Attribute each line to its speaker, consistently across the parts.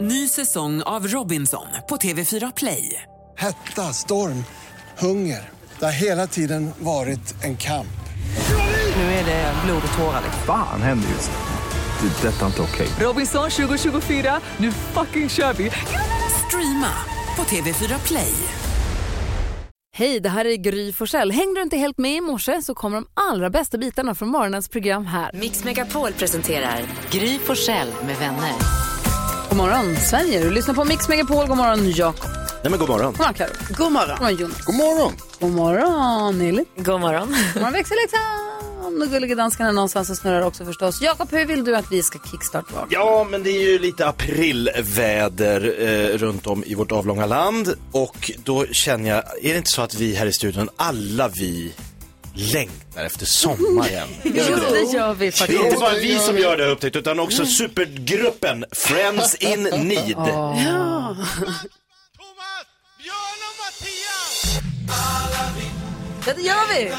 Speaker 1: Ny säsong av Robinson på TV4 Play.
Speaker 2: Hetta, storm, hunger. Det har hela tiden varit en kamp.
Speaker 1: Nu är det blod och tårar. liksom.
Speaker 3: Fan händer just nu. Det. är Detta är inte okej.
Speaker 1: Robinson 2024, nu fucking kör vi! Streama på TV4 Play.
Speaker 4: Hej, det här är Gry Forssell. Hängde du inte helt med i morse så kommer de allra bästa bitarna från morgonens program här.
Speaker 5: Mix Megapol presenterar Gry Forssell med vänner.
Speaker 4: God morgon, Sverige. Du lyssnar på Mix Megapol. God morgon, Jakob.
Speaker 6: Nej men god morgon.
Speaker 4: God morgon, Karo.
Speaker 5: God morgon.
Speaker 4: God morgon, Jonas.
Speaker 2: God morgon!
Speaker 4: God morgon, Nelly.
Speaker 5: God morgon.
Speaker 4: God morgon, växelläxan. Och gullige dansken är någonstans och snurrar också förstås. Jakob, hur vill du att vi ska kickstarta vår?
Speaker 6: Ja, men det är ju lite aprilväder eh, runt om i vårt avlånga land och då känner jag, är det inte så att vi här i studion, alla vi längtar efter sommaren?
Speaker 7: Mm.
Speaker 4: Jo, det gör vi
Speaker 6: Det är
Speaker 4: faktiskt.
Speaker 6: inte bara vi som gör det har jag upptäckt utan också supergruppen Friends in Need.
Speaker 8: Thomas, Björn och Mattias!
Speaker 4: Ja, det gör vi.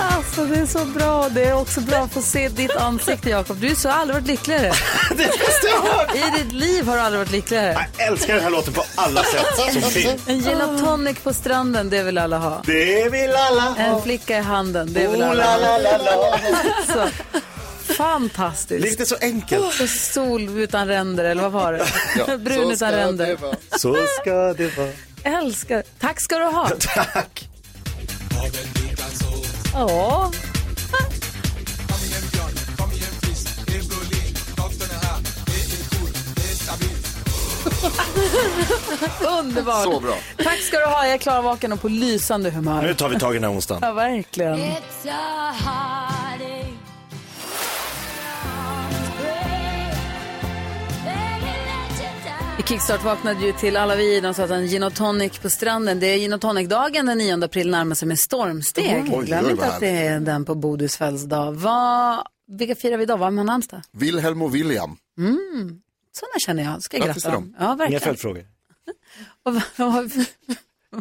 Speaker 4: Alltså, det är så bra. Det är också bra att få se ditt ansikte, Jakob. Du är så aldrig varit lyckligare.
Speaker 6: Det måste jag ha.
Speaker 4: I ditt liv har du aldrig varit lyckligare.
Speaker 6: Jag älskar den här låten på alla sätt som finns.
Speaker 4: En gin och tonic på stranden, det vill alla ha.
Speaker 6: Det vill alla
Speaker 4: En flicka i handen, det vill
Speaker 6: Oh,
Speaker 4: alla
Speaker 6: la,
Speaker 4: ha.
Speaker 6: la, la, la.
Speaker 4: Så, fantastiskt.
Speaker 6: Livet är så enkelt.
Speaker 4: Och sol utan ränder, eller vad var det? Brun utan ränder.
Speaker 6: Så ska det vara.
Speaker 4: Älskar. Tack ska du ha.
Speaker 6: Tack.
Speaker 4: Ja. Underbart.
Speaker 9: Så bra.
Speaker 4: Tack ska du ha. Jag är klarvaken och på lysande humör.
Speaker 6: Nu tar vi tag i den här onsdagen.
Speaker 4: Ja, verkligen. I Kickstart vaknade ju till alla vi de sa att en gin och tonic på stranden. Det är gin och tonic-dagen den 9 april närmar sig med stormsteg.
Speaker 9: Oj,
Speaker 4: Glöm
Speaker 9: oj,
Speaker 4: inte
Speaker 9: vad
Speaker 4: att det är den på Bodils födelsedag. Vad, vilka firar vi idag? Vad har man namnsdag?
Speaker 9: Wilhelm och William.
Speaker 4: Sådana känner jag. Ska jag
Speaker 9: Grattis
Speaker 4: gratta
Speaker 9: till
Speaker 4: dem? Ja,
Speaker 6: Inga
Speaker 4: verkligen.
Speaker 6: följdfrågor.
Speaker 4: Och vad- vad har vi-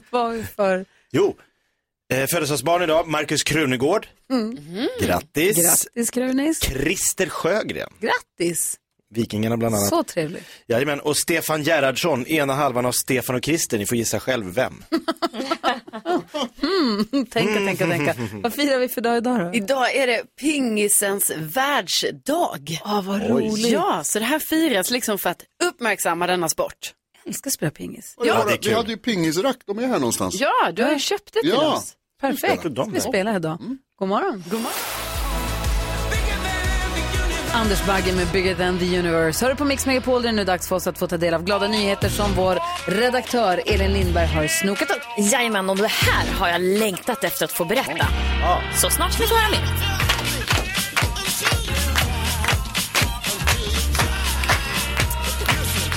Speaker 4: vad har vi för...
Speaker 6: Jo, eh, födelsedagsbarn idag, Markus Krunegård. Grattis.
Speaker 4: Mm. Grattis, Krunis.
Speaker 6: Christer Sjögren,
Speaker 4: Grattis.
Speaker 6: Vikingarna bland annat.
Speaker 4: Så trevligt.
Speaker 6: Jajamän, och Stefan Gerhardsson, ena halvan av Stefan och Christer. Ni får gissa själv vem.
Speaker 4: Hmm, Tänka, tänka, tänka. Vad firar vi för dag idag då?
Speaker 10: Idag är det pingisens världsdag.
Speaker 4: Ja, vad roligt.
Speaker 10: Ja, så det här firas liksom för att uppmärksamma denna sport.
Speaker 4: Vi ska spela pingis.
Speaker 9: Ja,
Speaker 6: det är
Speaker 9: vi
Speaker 6: kul.
Speaker 9: hade ju pingisrack, de är här någonstans.
Speaker 10: Ja, du har ju köpt det till
Speaker 9: Ja.
Speaker 10: oss.
Speaker 4: Perfekt.
Speaker 6: dem
Speaker 4: Vi
Speaker 6: då.
Speaker 4: spelar idag. God morgon. God morgon. Anders Bagge med Bigger than the universe. Hör du på Mix Megapol, det är nu dags för oss att få ta del av glada nyheter som vår redaktör Elin Lindberg har snokat upp.
Speaker 5: Jajamän, och det här har jag längtat efter att få berätta. Så snart ska ni få höra mer.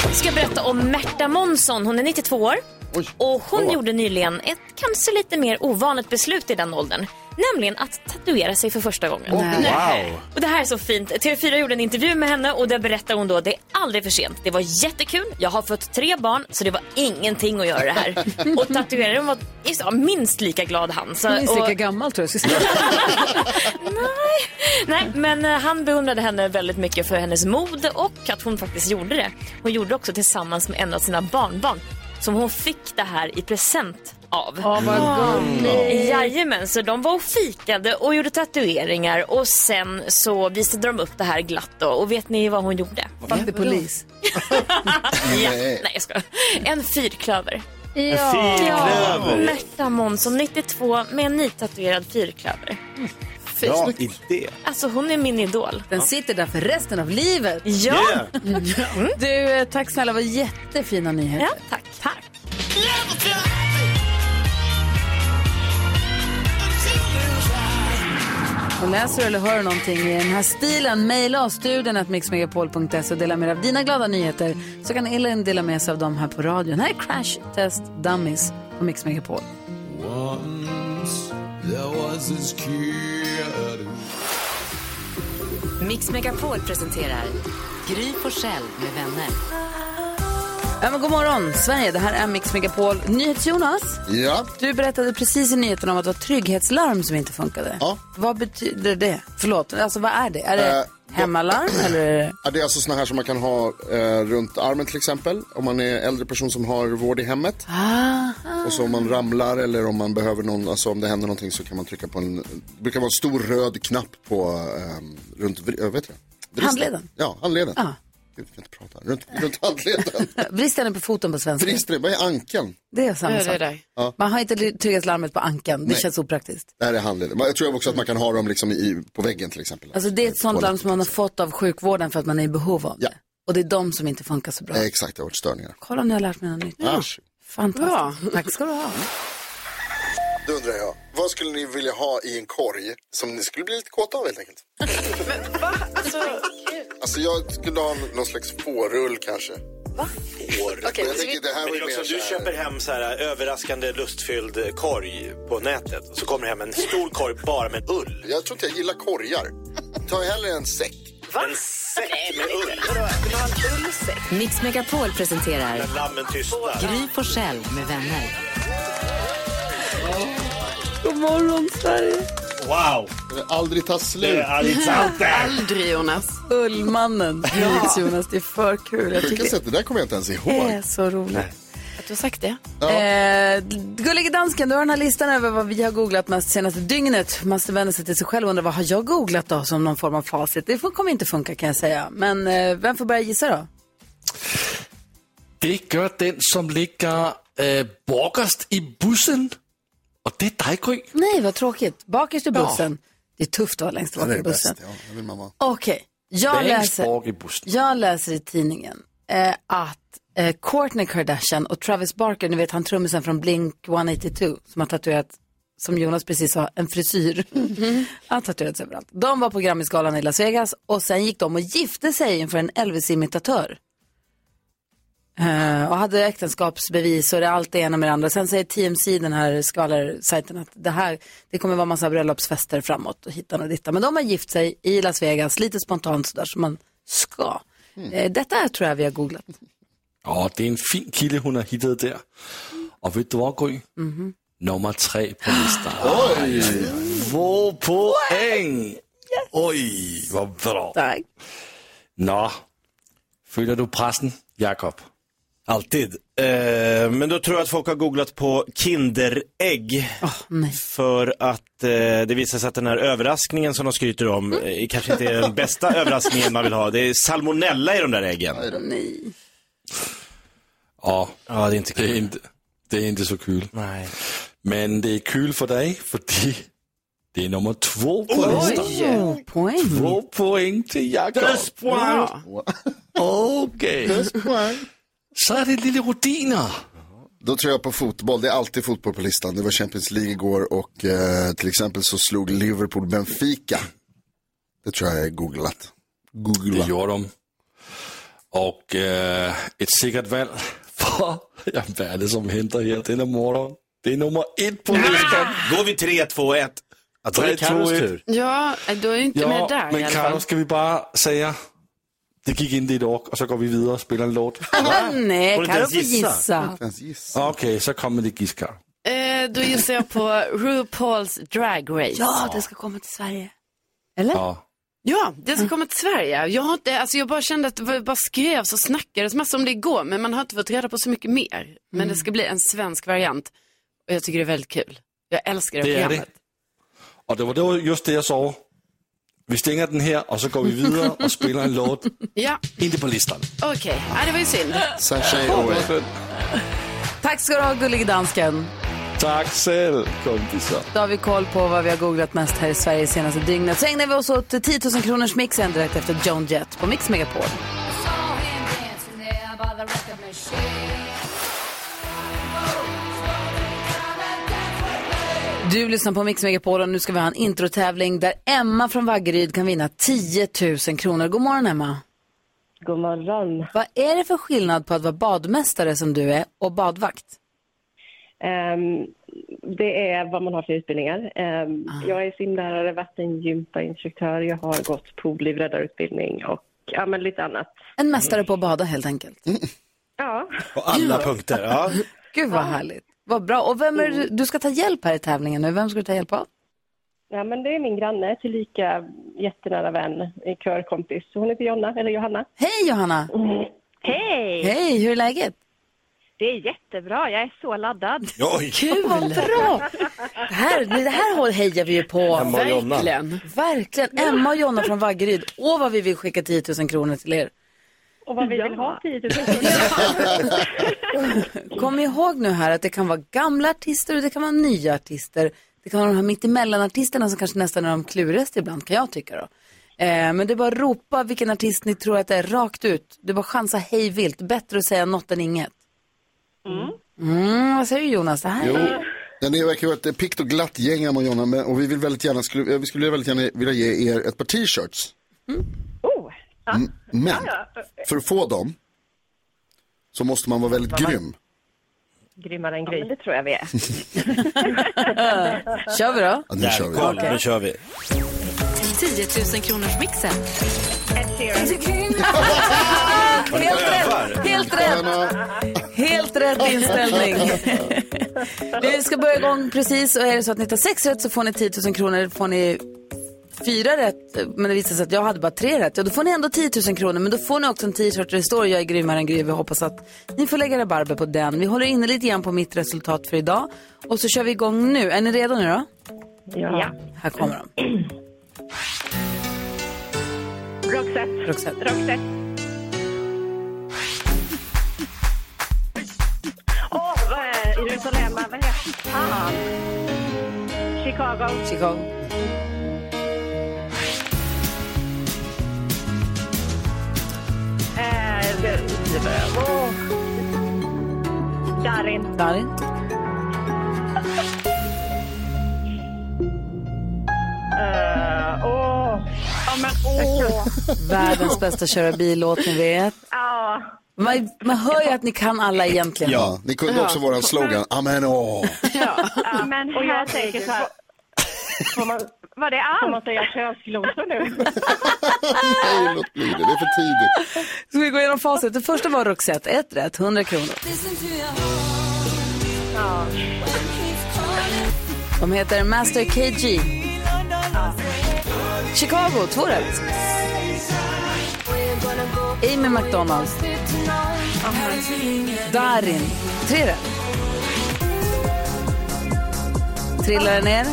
Speaker 5: Jag ska berätta om Märta Månsson. Hon är 92 år. Och hon gjorde nyligen ett kanske lite mer ovanligt beslut i den åldern. Nämligen att tatuera sig för första gången.
Speaker 6: Wow.
Speaker 5: Och det här är så fint. TV4 gjorde en intervju med henne och där berättar hon då det är aldrig för sent. Det var jättekul. Jag har fått tre barn så det var ingenting att göra det här. Och tatueraren var ja, minst lika glad han. Så,
Speaker 4: Minst lika
Speaker 5: och,
Speaker 4: gammal tror jag jag ska säga.
Speaker 5: nej, men eh, han beundrade henne väldigt mycket för hennes mod och att hon faktiskt gjorde det. Hon gjorde det också tillsammans med en av sina barnbarn. som hon fick det här i present av. Mm.
Speaker 4: Åh, vad gulligt.
Speaker 5: Jajamän, så de var och fikade och gjorde tatueringar och sen så visade de upp det här glatt då. Och vet ni vad hon gjorde?
Speaker 4: Fattig polis.
Speaker 5: Ja. Nej, jag skojar. En fyrklöver.
Speaker 6: Ja.
Speaker 5: Märta Månsson, 92, med en nytatuerad fyrklöver.
Speaker 6: Bra idé.
Speaker 5: Alltså hon är min idol.
Speaker 4: Den sitter där för resten av livet.
Speaker 5: Ja,
Speaker 6: Yeah.
Speaker 4: Du, eh, tack snälla. Vad jättefina nyheter.
Speaker 5: ja tack. tack.
Speaker 4: Och läser du eller hör du någonting i den här stilen, mejla oss studion att mixmegapol.se och dela med dig av dina glada nyheter. Så kan Elin dela med sig av dem här på radion. Här är Crash Test Dummies på Mix Megapol.
Speaker 11: Mix Megapol presenterar Gry Forssell med vänner.
Speaker 4: Ja, men god morgon, Sverige. Det här är Mix Megapol. NyhetsJonas,
Speaker 9: Ja,
Speaker 4: du berättade precis i nyheten om att det var trygghetslarm som inte funkade.
Speaker 9: Ja.
Speaker 4: Vad betyder det? Förlåt, alltså vad är det? Är det
Speaker 9: Eh,
Speaker 4: hemmalarm eller? är det-
Speaker 9: Ja, det är alltså såna här som man kan ha eh, runt armen till exempel. Om man är äldre person som har vård i hemmet.
Speaker 4: Ah.
Speaker 9: Och så om man ramlar eller om man behöver någon, alltså om det händer någonting så kan man trycka på en, det brukar vara en stor röd knapp på, ehm, runt, vri- eh, vet jag, vristen.
Speaker 4: Handleden. Ah.
Speaker 9: Ja, handleden. Gud, jag kan inte prata. Runt, runt handleden.
Speaker 4: Bristen är på foten på svenska.
Speaker 9: Vristen, vad är ankeln?
Speaker 4: Det är samma
Speaker 10: Ja, det
Speaker 4: sak.
Speaker 10: är det.
Speaker 4: Man har inte trygghetslarmet på anken. Det känns opraktiskt.
Speaker 9: Det här är handleden. Men Jag tror också att man kan ha dem liksom i, på väggen till exempel.
Speaker 4: Alltså det är ett sånt larm som man har fått av sjukvården för att man är i behov av det.
Speaker 9: Ja.
Speaker 4: Och det är de som inte funkar så bra.
Speaker 9: Eh, Exakt, det har varit störningar. Ah.
Speaker 4: Kolla om ni har lärt mig något nytt.
Speaker 9: Varsågod.
Speaker 4: Fantastiskt. Tack ska du ha.
Speaker 9: Då undrar jag, vad skulle ni vilja ha i en korg som ni skulle bli lite kåta av helt enkelt? Alltså jag skulle ha någon slags fårull kanske. Men jag tänker det
Speaker 6: Men
Speaker 9: här var
Speaker 6: det
Speaker 9: ju
Speaker 6: är
Speaker 9: mer
Speaker 6: också, du
Speaker 9: så här-
Speaker 6: köper hem så här överraskande lustfylld korg på nätet och så kommer det hem en stor korg bara med ull.
Speaker 9: Jag tror inte jag gillar korgar. Ta hellre en säck.
Speaker 6: En säck med ull.
Speaker 11: Mix Megapol presenterar
Speaker 6: När lammen tystnar.
Speaker 11: Gry Forssell med vänner.
Speaker 4: God morgon Sverige.
Speaker 6: Wow!
Speaker 9: Det aldrig ta
Speaker 6: Det
Speaker 9: slut.
Speaker 6: är Alitante!
Speaker 10: Aldrig Jonas.
Speaker 4: Ullmannen. Ja. Jonas, det är för kul. Jag
Speaker 9: Sjuka
Speaker 4: tycker
Speaker 9: sätt, det där kommer jag inte ens
Speaker 4: det
Speaker 9: ihåg.
Speaker 4: är så roligt.
Speaker 10: Att du har sagt det.
Speaker 4: Eh, Gullige dansken, du har den här listan över vad vi har googlat mest senaste dygnet. Man måste vända sig till sig själv och undra vad har jag googlat då som någon form av facit. Det får- kommer inte funka kan jag säga. Men eh, vem får börja gissa då?
Speaker 12: Det gör den som ligger äh, bakast i bussen. Och det är dig, Gry.
Speaker 4: Nej, vad tråkigt. Bakis i bussen. Det är tufft att vara längst bak i bussen.
Speaker 9: Ja, det vill man vara.
Speaker 4: Okej, jag,
Speaker 12: Längst
Speaker 4: läser,
Speaker 12: bak i bussen.
Speaker 4: jag läser i tidningen eh, att eh, Kourtney Kardashian och Travis Barker, ni vet han trummisen från Blink 182 som har tatuerat, som Jonas precis sa, en frisyr. Han har tatuerats överallt. De var på Grammisgalan i Las Vegas och sen gick de och gifte sig inför en Elvis-imitatör. Eh, och hade äktenskapsbevis och det allt det ena med det andra. Sen säger TMC, den här skvalersajten, att det här, det kommer vara massa bröllopsfester framåt och hittan och dittan. Men de har gift sig i Las Vegas, lite spontant sådär som man ska. Eh, detta tror jag vi har googlat.
Speaker 12: Ja, det är en fin kille hon har hittat där. Och vet du vad, Gry?
Speaker 4: Mhm.
Speaker 12: Nummer tre på listan. Oj! Två poäng! Oj, vad bra.
Speaker 4: Tack.
Speaker 12: Nå, följer du pressen, Jakob?
Speaker 6: Alltid. Eh, men då tror jag att folk har googlat på Kinderägg.
Speaker 4: nej.
Speaker 6: För att eh, det visar sig att den här överraskningen som de skryter om eh, kanske inte är den bästa överraskningen man vill ha. Det är salmonella i de där äggen.
Speaker 12: Ja,
Speaker 6: Ja, det är inte
Speaker 12: det är
Speaker 6: kul.
Speaker 12: inte, det är inte så kul.
Speaker 6: Nej.
Speaker 12: Men det är kul för dig, för det är nummer två på listan.
Speaker 4: Oh, poäng.
Speaker 12: Två poäng till Jakob.
Speaker 10: Bra.
Speaker 12: Okej. Så är det lite rutiner.
Speaker 9: Då tror jag på fotboll. Det är alltid fotboll på listan. Det var Champions League igår och eh, till exempel så slog Liverpool Benfica. Det tror jag är googlat.
Speaker 12: Det
Speaker 9: Googlat.
Speaker 12: gjorde de. Och eh, ett säkert val. För, ja, vad är det som händer här denna morgon? Det är nummer ett på listan.
Speaker 6: Går vi 3, 2, 1. Ja, då är det
Speaker 12: Tre, två,
Speaker 6: Carros
Speaker 12: ett.
Speaker 6: tur.
Speaker 10: Ja, du är ju inte med
Speaker 12: Ja,
Speaker 10: där i
Speaker 12: men
Speaker 10: alla
Speaker 12: Carlo,
Speaker 10: fall.
Speaker 12: ska vi bara säga. Det gick inte idag och så går vi vidare och spelar en låt.
Speaker 4: Ah, Nej,
Speaker 6: Får du inte
Speaker 4: Carro
Speaker 6: ens
Speaker 4: får
Speaker 6: gissa?
Speaker 4: gissa.
Speaker 9: Ens giss.
Speaker 12: Okej, så kommer det giss, Carlo.
Speaker 10: Eh, då gissar jag på RuPaul's Drag Race.
Speaker 4: Ja, det ska komma till Sverige. Eller?
Speaker 12: Ja.
Speaker 10: Ja, det ska komma till Sverige. Jag, har inte, alltså jag bara kände att det bara skrevs och snackades massor om det igår, men man har inte fått reda på så mycket mer. Men
Speaker 4: Mm.
Speaker 10: det ska bli en svensk variant och jag tycker det är väldigt kul. Jag älskar det,
Speaker 12: Det är det.
Speaker 10: programmet.
Speaker 12: Og det var, det var just det, jeg sov. Vi stänger den her, og så går vi videre og spiller en låt.
Speaker 10: Ja,
Speaker 12: Inte på listan.
Speaker 10: okej. Ja, det var ju synd.
Speaker 12: Sasha Owen.
Speaker 4: Tack ska du ha, gullige dansken.
Speaker 12: Tak selv, kompisar.
Speaker 4: Då har vi koll på vad vi har googlat mest här i Sverige senaste dygnet. Så ägnar vi oss åt 10 000 kronors mixen direkt efter Joan Jett på Mix Megapol. Du lyssnar på Mix Megapol och nu ska vi ha en introtävling där Emma från Vaggeryd kan vinna 10 000 kronor. God morgon Emma.
Speaker 13: God morgon.
Speaker 4: Vad är det för skillnad på att vara badmästare som du är och badvakt?
Speaker 13: Ehm, det är vad man har för utbildningar. Ehm,
Speaker 4: Ah.
Speaker 13: Jag är simlärare, vattengympainstruktör, jag har gått poolivräddarutbildning och ja, men lite annat.
Speaker 4: En mästare på att bada helt enkelt.
Speaker 13: Ja.
Speaker 6: På alla punkter. Ja.
Speaker 4: Gud vad härligt. Vad bra. Och vem är det, du ska ta hjälp här i tävlingen nu. Vem ska du ta hjälp av?
Speaker 13: ja, men det är min granne, tillika jättenära vän, eh, körkompis. Hon heter Jonna, eller Johanna. Mm.
Speaker 4: Hej Johanna!
Speaker 14: Hej!
Speaker 4: Hej, hur är läget?
Speaker 14: Det är jättebra, jag är så laddad.
Speaker 6: Oj.
Speaker 4: Kul! Vad bra! Det här, det här håll hejar vi ju på.
Speaker 14: Emma och Jonna.
Speaker 4: Verkligen. Verkligen. Emma och Jonna från Vaggeryd. Åh vad vi vill skicka 10 000 kronor till er.
Speaker 13: Och vad vi vill ha 10 000
Speaker 4: Kom ihåg nu här att det kan vara gamla artister och det kan vara nya artister. Det kan vara de här mittemellan-artisterna som kanske nästan är de klurigaste ibland, kan jag tycka då. Eh, men det är bara att ropa vilken artist ni tror att det är rakt ut. Det är bara att chansa hej vilt. Bättre att säga något än inget. Mm, vad säger du Jonas? Det här
Speaker 9: Jo.
Speaker 4: är...
Speaker 9: Ja, ni verkar vara ett pickt och glatt gäng, Emma och Jonna, men- och vi, vill väldigt gärna, skulle, eh, vi skulle väldigt gärna vilja ge er ett par t-shirts.
Speaker 13: Oh,
Speaker 9: Mm. Men för att få dem så måste man vara väldigt grym.
Speaker 13: Grymmare än Gry. det tror jag vi är.
Speaker 4: Kör vi då?
Speaker 9: Ja, nu kör vi.
Speaker 6: Kom, nu kör vi.
Speaker 11: 10 000 kronors mixen.
Speaker 4: Helt
Speaker 6: rätt!
Speaker 4: Helt rätt! Helt rätt inställning. Vi ska börja igång precis och är det så att ni tar sex rätt så får ni 10 000 kronor. Får ni fyra rätt men det visar sig att jag hade bara tre rätt, ja, då får ni ändå 10 000 kronor. Men då får ni också en t-shirt där det står jag är grymmare än Gry. Vi hoppas att ni får lägga rabarber på den. Vi håller inne lite grann på mitt resultat för idag och så kör vi igång nu. Är ni redo nu då?
Speaker 13: Ja.
Speaker 4: Här kommer de.
Speaker 13: Roxette.
Speaker 4: Roxette.
Speaker 13: Roxette. Åh, vad är Jerusalem? Vad heter han? Chicago.
Speaker 4: Chicago.
Speaker 13: Eh, det- åh. Darin.
Speaker 4: Darin.
Speaker 13: Eh, Åh. Ja, men åh.
Speaker 4: Världens bästa köra bil-låt ni vet.
Speaker 13: Ja.
Speaker 4: Man, man hör ju att ni kan alla egentligen.
Speaker 9: Ja, ni kunde också våran slogan, amen åh.
Speaker 13: Men och jag tänker så här... Får man, var det allt? Får man säga könsglosor nu?
Speaker 9: Nej, låt bli det, det är för tidigt.
Speaker 4: Ska vi gå igenom facit? Det första var Roxette, ett rätt, 100 kronor.
Speaker 13: Ja.
Speaker 4: De heter Master KG. Chicago, två rätt. Amy McDonald. Darin, tre rätt. Trillar det ner?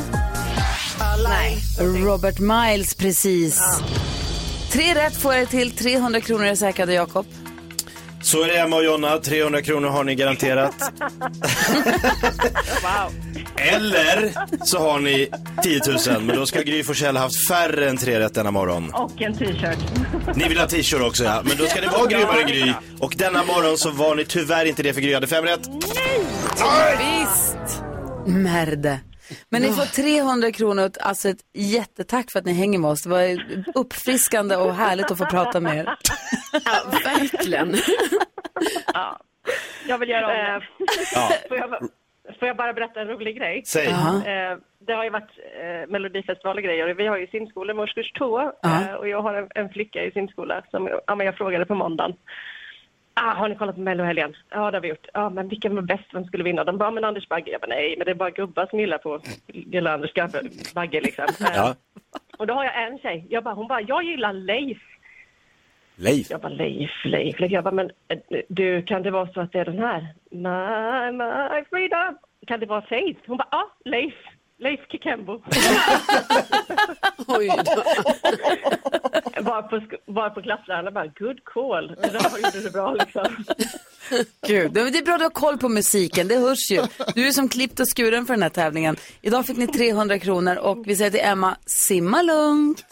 Speaker 13: Nej.
Speaker 4: Robert Miles, precis. Tre rätt får jag till, 300 kronor är säkrade, Jakob.
Speaker 6: Så är det Emma och Jonna, 300 kronor har ni garanterat. Eller så har ni 10 000, men då ska Gry Forssell haft färre än tre rätt denna morgon.
Speaker 13: Och en t-shirt.
Speaker 6: Ni vill ha t-shirt också ja, men då ska ni vara grymmare än Gry. Och denna morgon så var ni tyvärr inte det för Gry hade fem rätt.
Speaker 4: Visst! Merde. Men ni får 300 kronor, alltså ett jättetack för att ni hänger med oss. Det var uppfriskande och härligt att få prata med er.
Speaker 10: Ja, verkligen.
Speaker 13: Jag vill göra om det.
Speaker 6: Ja.
Speaker 13: Eh, får, jag, ba- får jag bara berätta en rolig grej?
Speaker 6: Säg. Jaha.
Speaker 13: Eh, Det har ju varit eh, melodifestival och grejer. Vi har ju simskola med årskurs två.
Speaker 15: Ja.
Speaker 13: eh, Och jag har en, en flicka i simskola som jag- ja, men jag frågade på måndagen. Ah, har ni kollat på Mello i helgen? Ja, det har vi gjort. Ja, men vilken var bäst? Vem skulle vinna? De bara, men Anders Bagge. Jag bara, nej, men det är bara gubbar som gillar på gillar Anders Bagge liksom. Eh,
Speaker 6: Ja.
Speaker 13: Och då har jag en tjej, jag bara, hon bara, jag gillar Leif.
Speaker 6: Leif.
Speaker 13: Jag bara, Leif, Leif, Leif. Jag bara, men eh, du, kan det vara så att det är den här? My, my freedom. Kan det vara Faith? Hon bara, ja, Leif. Leif Kikembo.
Speaker 4: Oj då.
Speaker 13: Bara på, sk- bara på klasslärarna bara, good call. Det där gjorde du bra liksom.
Speaker 4: Gud, men det är bra att du har koll på musiken, det hörs ju. Du är som klippt och skuren för den här tävlingen. Idag fick ni 300 kronor och vi säger till Emma, simma lugnt.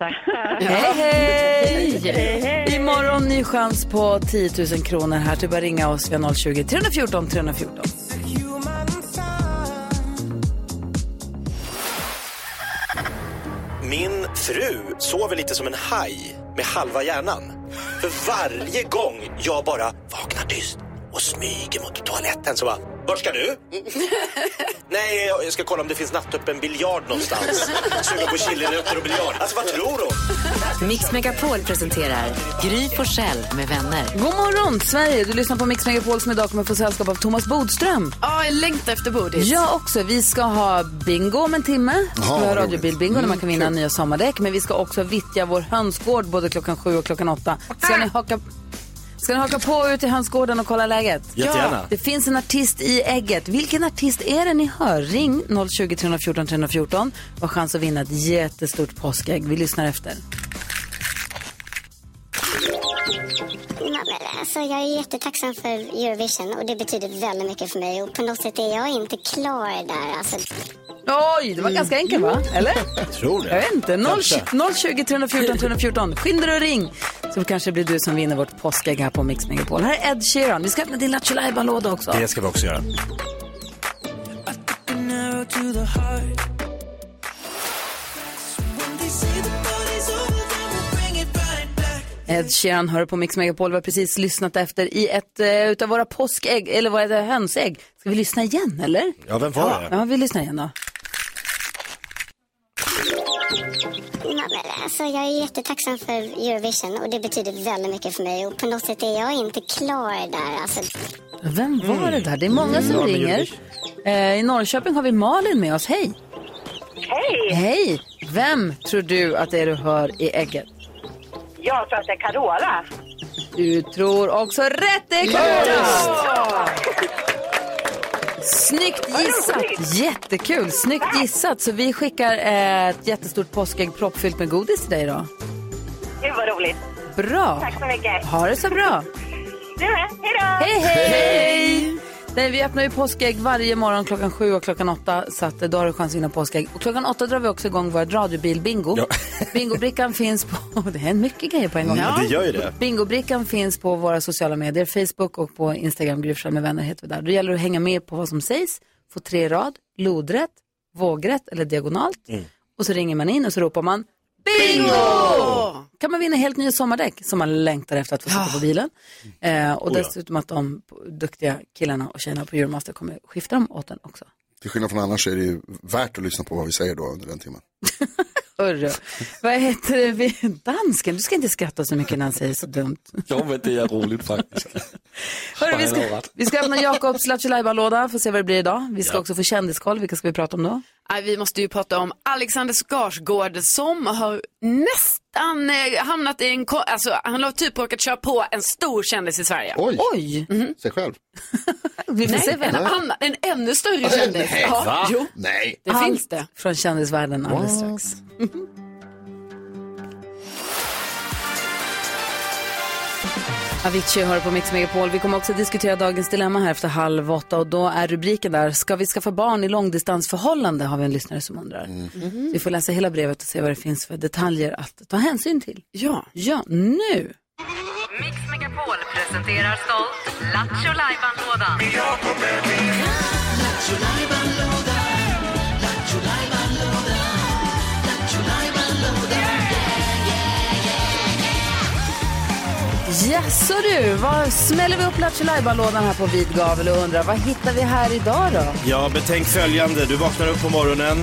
Speaker 4: Hej, hej! Imorgon ny chans på 10 000 kronor här. Det är bara att ringa oss via 020-314 314.
Speaker 6: Min fru sover lite som en haj med halva hjärnan. För varje gång jag bara vaknar tyst och smyger mot toaletten så bara, vart ska du? Nej, jag ska kolla om det finns nattöppen biljard någonstans. Suga på chilinötter och biljard. Alltså vad tror hon?
Speaker 11: Mix Megapol presenterar Gry Forssell med vänner.
Speaker 4: God morgon, Sverige! Du lyssnar på Mix Megapol som idag kommer få sällskap av Thomas Bodström.
Speaker 10: Ja, jag längtar efter Bodis.
Speaker 4: Jag också. Vi ska ha bingo om en timme. Vi ska
Speaker 10: Jaha,
Speaker 4: ha
Speaker 10: vad roligt.
Speaker 4: radiobilbingo där man kan vinna
Speaker 10: Mm, kul.
Speaker 4: nya sommardäck. Men vi ska också vittja vår hönsgård både klockan sju och klockan åtta. Ska ni haka, ska ni haka på ut i hönsgården och kolla läget?
Speaker 15: Jättegärna.
Speaker 4: Det finns en artist i ägget. Vilken artist är det ni hör? Ring 020 314 314 och ha chans att vinna ett jättestort påskägg. Vi lyssnar efter.
Speaker 16: Nej, men alltså, jag är jättetacksam för Eurovision och det betyder väldigt mycket för mig. Och på något sätt är jag inte klar där. Alltså.
Speaker 4: Oj, det var ganska enkelt va? Eller? Jag
Speaker 6: Mm. tror det.
Speaker 4: Jag vet inte. 0,
Speaker 6: Kanske.
Speaker 4: 020 314 314. Skynda dig och ring. Så kanske blir du som vinner vårt påskägg här på Mix Megapol. Här är Ed Sheeran. Vi ska öppna din Lattjo Lajban-låda också.
Speaker 6: Det ska vi också göra.
Speaker 4: Ed Sheeran hör på Mix Megapol. Vi har precis lyssnat efter i ett eh, utav våra påskägg, eller vad är det, hönsägg. Ska vi lyssna igen eller?
Speaker 6: Ja, vem var det?
Speaker 4: Ja, vi lyssnar igen då.
Speaker 16: Nej, men alltså, jag är jättetacksam för Eurovision och det betyder väldigt mycket för mig. Och på något sätt är jag inte klar där. Alltså.
Speaker 4: Vem var
Speaker 6: Mm.
Speaker 4: det där? Det är många som
Speaker 16: Ja, men
Speaker 4: ringer. Eh, I Norrköping har vi Malin med oss. Hej!
Speaker 17: Hej!
Speaker 4: Hej! Vem tror du att det är du hör i ägget?
Speaker 17: Jag tror att det är Carola.
Speaker 4: Du tror också rätt, det är Carola! Snyggt gissat! Jättekul! Snyggt gissat! Så vi skickar ett jättestort påskägg proppfyllt med godis till dig idag.
Speaker 17: Gud vad roligt.
Speaker 4: Bra!
Speaker 17: Tack så mycket.
Speaker 4: Ha det så bra!
Speaker 17: Du med. Hej då!
Speaker 4: Hej, hej! Nej, vi öppnar ju påskägg varje morgon klockan sju och klockan åtta. Så att eh, då har du chans att vinna påskägg. Och klockan åtta drar vi också igång vårt radiobil-bingo. Bingobrickan finns på... Det är mycket grejer på en gång.
Speaker 6: Ja, Mm, det gör ju det.
Speaker 4: Bingobrickan finns på våra sociala medier. Facebook och på Instagram. Gry Forssell med vänner heter vi där. Då gäller det att hänga med på vad som sägs. Få tre rad, lodrätt, vågrätt eller diagonalt.
Speaker 12: Mm.
Speaker 4: Och så ringer man in och så ropar man Bingo! Kan man vinna helt nya sommardäck som man längtar efter att få sätta på bilen. Eh, och
Speaker 9: Oh ja.
Speaker 4: dessutom att de duktiga killarna och tjejerna på Euromaster kommer skifta dem åt den också.
Speaker 9: Till skillnad från annars är det ju värt att lyssna på vad vi säger då under den timmen.
Speaker 4: Hörru, vad heter det? Vi- Dansken, du ska inte skratta så mycket när han säger så dumt.
Speaker 12: Jo, men det är roligt faktiskt.
Speaker 4: Hörru, vi,
Speaker 12: Fan, jag har
Speaker 4: ska,
Speaker 12: rätt.
Speaker 4: vi ska öppna Jakobs Lattjo låda för att se vad det blir idag. Vi ska också få kändiskoll. Vilka ska vi prata om då?
Speaker 10: Nej, vi måste ju prata om Alexander Skarsgård som har nästan eh, hamnat i en... ko- Alltså, han har typ råkat köra på en stor kändis i Sverige.
Speaker 9: Oj!
Speaker 4: Oj.
Speaker 9: Sig själv.
Speaker 4: Vi får
Speaker 10: Nej,
Speaker 4: se vem.
Speaker 10: en, annan, en ännu större kändis. Ja, jo.
Speaker 9: Nej.
Speaker 10: Det finns det.
Speaker 4: Från kändisvärlden alldeles strax. Avicii hör på Mix Megapol. Vi kommer också diskutera dagens dilemma här efter halv åtta och då är rubriken där, ska vi skaffa barn i långdistansförhållande? Har vi en lyssnare som undrar.
Speaker 7: Mm.
Speaker 4: Så Vi får läsa hela brevet och se vad det finns för detaljer att ta hänsyn till.
Speaker 10: Ja.
Speaker 4: Ja, nu.
Speaker 11: Mix Megapol presenterar stolt Lattjo Lajban-lådan.
Speaker 4: Jaså du, vad smäller vi upp Lattjo lådan här på vid gavel och undrar vad hittar vi här idag då?
Speaker 6: Ja, betänk följande. Du vaknar upp på morgonen.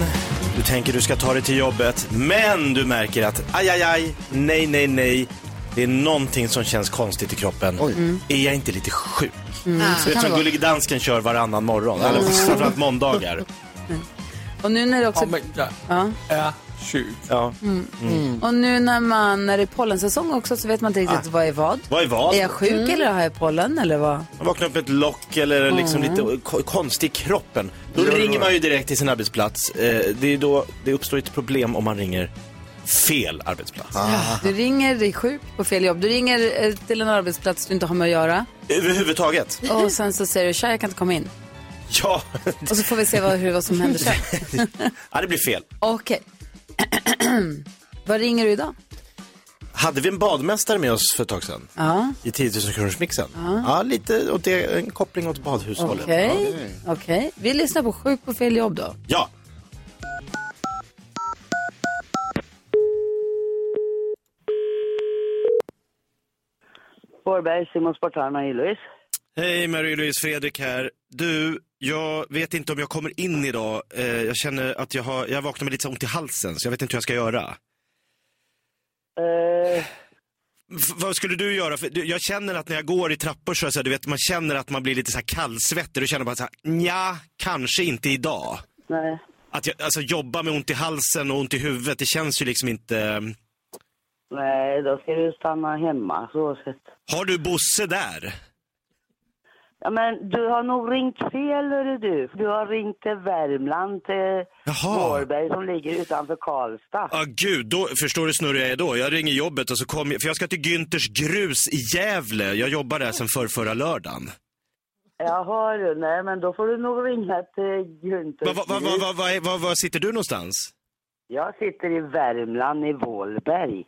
Speaker 6: Du tänker du ska ta dig till jobbet, men du märker att aj, aj, aj, nej, nej, nej. Det är någonting som känns konstigt i kroppen. Är jag inte lite sjuk?
Speaker 4: Mm, så
Speaker 6: Det är
Speaker 4: kan det
Speaker 6: som
Speaker 4: vara.
Speaker 6: Gullig Dansken kör varannan morgon, eller
Speaker 4: Mm.
Speaker 6: framförallt måndagar.
Speaker 4: Och nu när det också...
Speaker 12: Ja, men jag
Speaker 4: Ja.
Speaker 12: är 20.
Speaker 6: Ja.
Speaker 4: Mm.
Speaker 6: Mm. Ah.
Speaker 4: Och nu när, man, när det är pollensäsong också så vet man inte riktigt vad är vad.
Speaker 6: Vad är vad?
Speaker 4: Är jag sjuk
Speaker 6: Mm.
Speaker 4: eller har jag pollen eller vad?
Speaker 6: Man vaknar upp med ett lock eller liksom
Speaker 4: Mm.
Speaker 6: lite ko- konstig i kroppen. Då
Speaker 4: Ja.
Speaker 6: ringer man ju direkt till sin arbetsplats. Eh, Det, är då, det uppstår ett problem om man ringer fel arbetsplats.
Speaker 4: Du ringer dig sjuk på fel jobb. Du ringer eh, till en arbetsplats du inte har med att göra.
Speaker 6: Överhuvudtaget.
Speaker 4: Och sen så säger du, tja jag kan inte komma in.
Speaker 6: Ja.
Speaker 4: Och så får vi se vad, hur, vad som händer sen.
Speaker 6: ja, det blir fel.
Speaker 4: Okej. vad ringer du idag?
Speaker 6: Hade vi en badmästare med oss för ett tag sedan?
Speaker 4: Ja.
Speaker 6: I 10 000 kronorsmixen?
Speaker 4: Ja.
Speaker 6: Ja, lite åt det, en koppling åt badhushållet.
Speaker 4: Okej.
Speaker 6: Ja.
Speaker 4: Okej. Vi lyssnar på Sjuk på fel jobb då.
Speaker 6: Ja.
Speaker 15: Borberg, Simon Spartana i Louise.
Speaker 6: Hej Marie-Louise, Fredrik här. Du, jag vet inte om jag kommer in idag. Eh, jag känner att jag har, jag vaknar med lite så ont i halsen så jag vet inte hur jag ska göra.
Speaker 15: Eh,
Speaker 6: F- vad skulle du göra? För, du, jag känner att när jag går i trappor så, är det så här, du vet, man känner att man blir lite så här kallsvettig. Du känner bara så här, ja, kanske inte idag.
Speaker 15: nej.
Speaker 6: Att jag, alltså jobba med ont i halsen och ont i huvudet, det känns ju liksom inte...
Speaker 15: nej, då ska du stanna hemma. Så sett.
Speaker 6: Har du Bosse där?
Speaker 15: Ja, men du har nog ringt fel, hörru du. Du har ringt till Värmland, till Borberg som ligger utanför Karlstad.
Speaker 6: Ja, ah, gud, då förstår du snurrig jag är då. Jag ringer jobbet och så kommer jag, för jag ska till Günthers grus i Gävle. Jag jobbar där sedan förr, förra lördagen.
Speaker 15: Jaha, du. Nej, men då får du nog ringa till
Speaker 6: Va,
Speaker 15: Gunther.
Speaker 6: va, va, va, va, va, va, va sitter du någonstans?
Speaker 15: Jag sitter i Värmland, i Vålberg.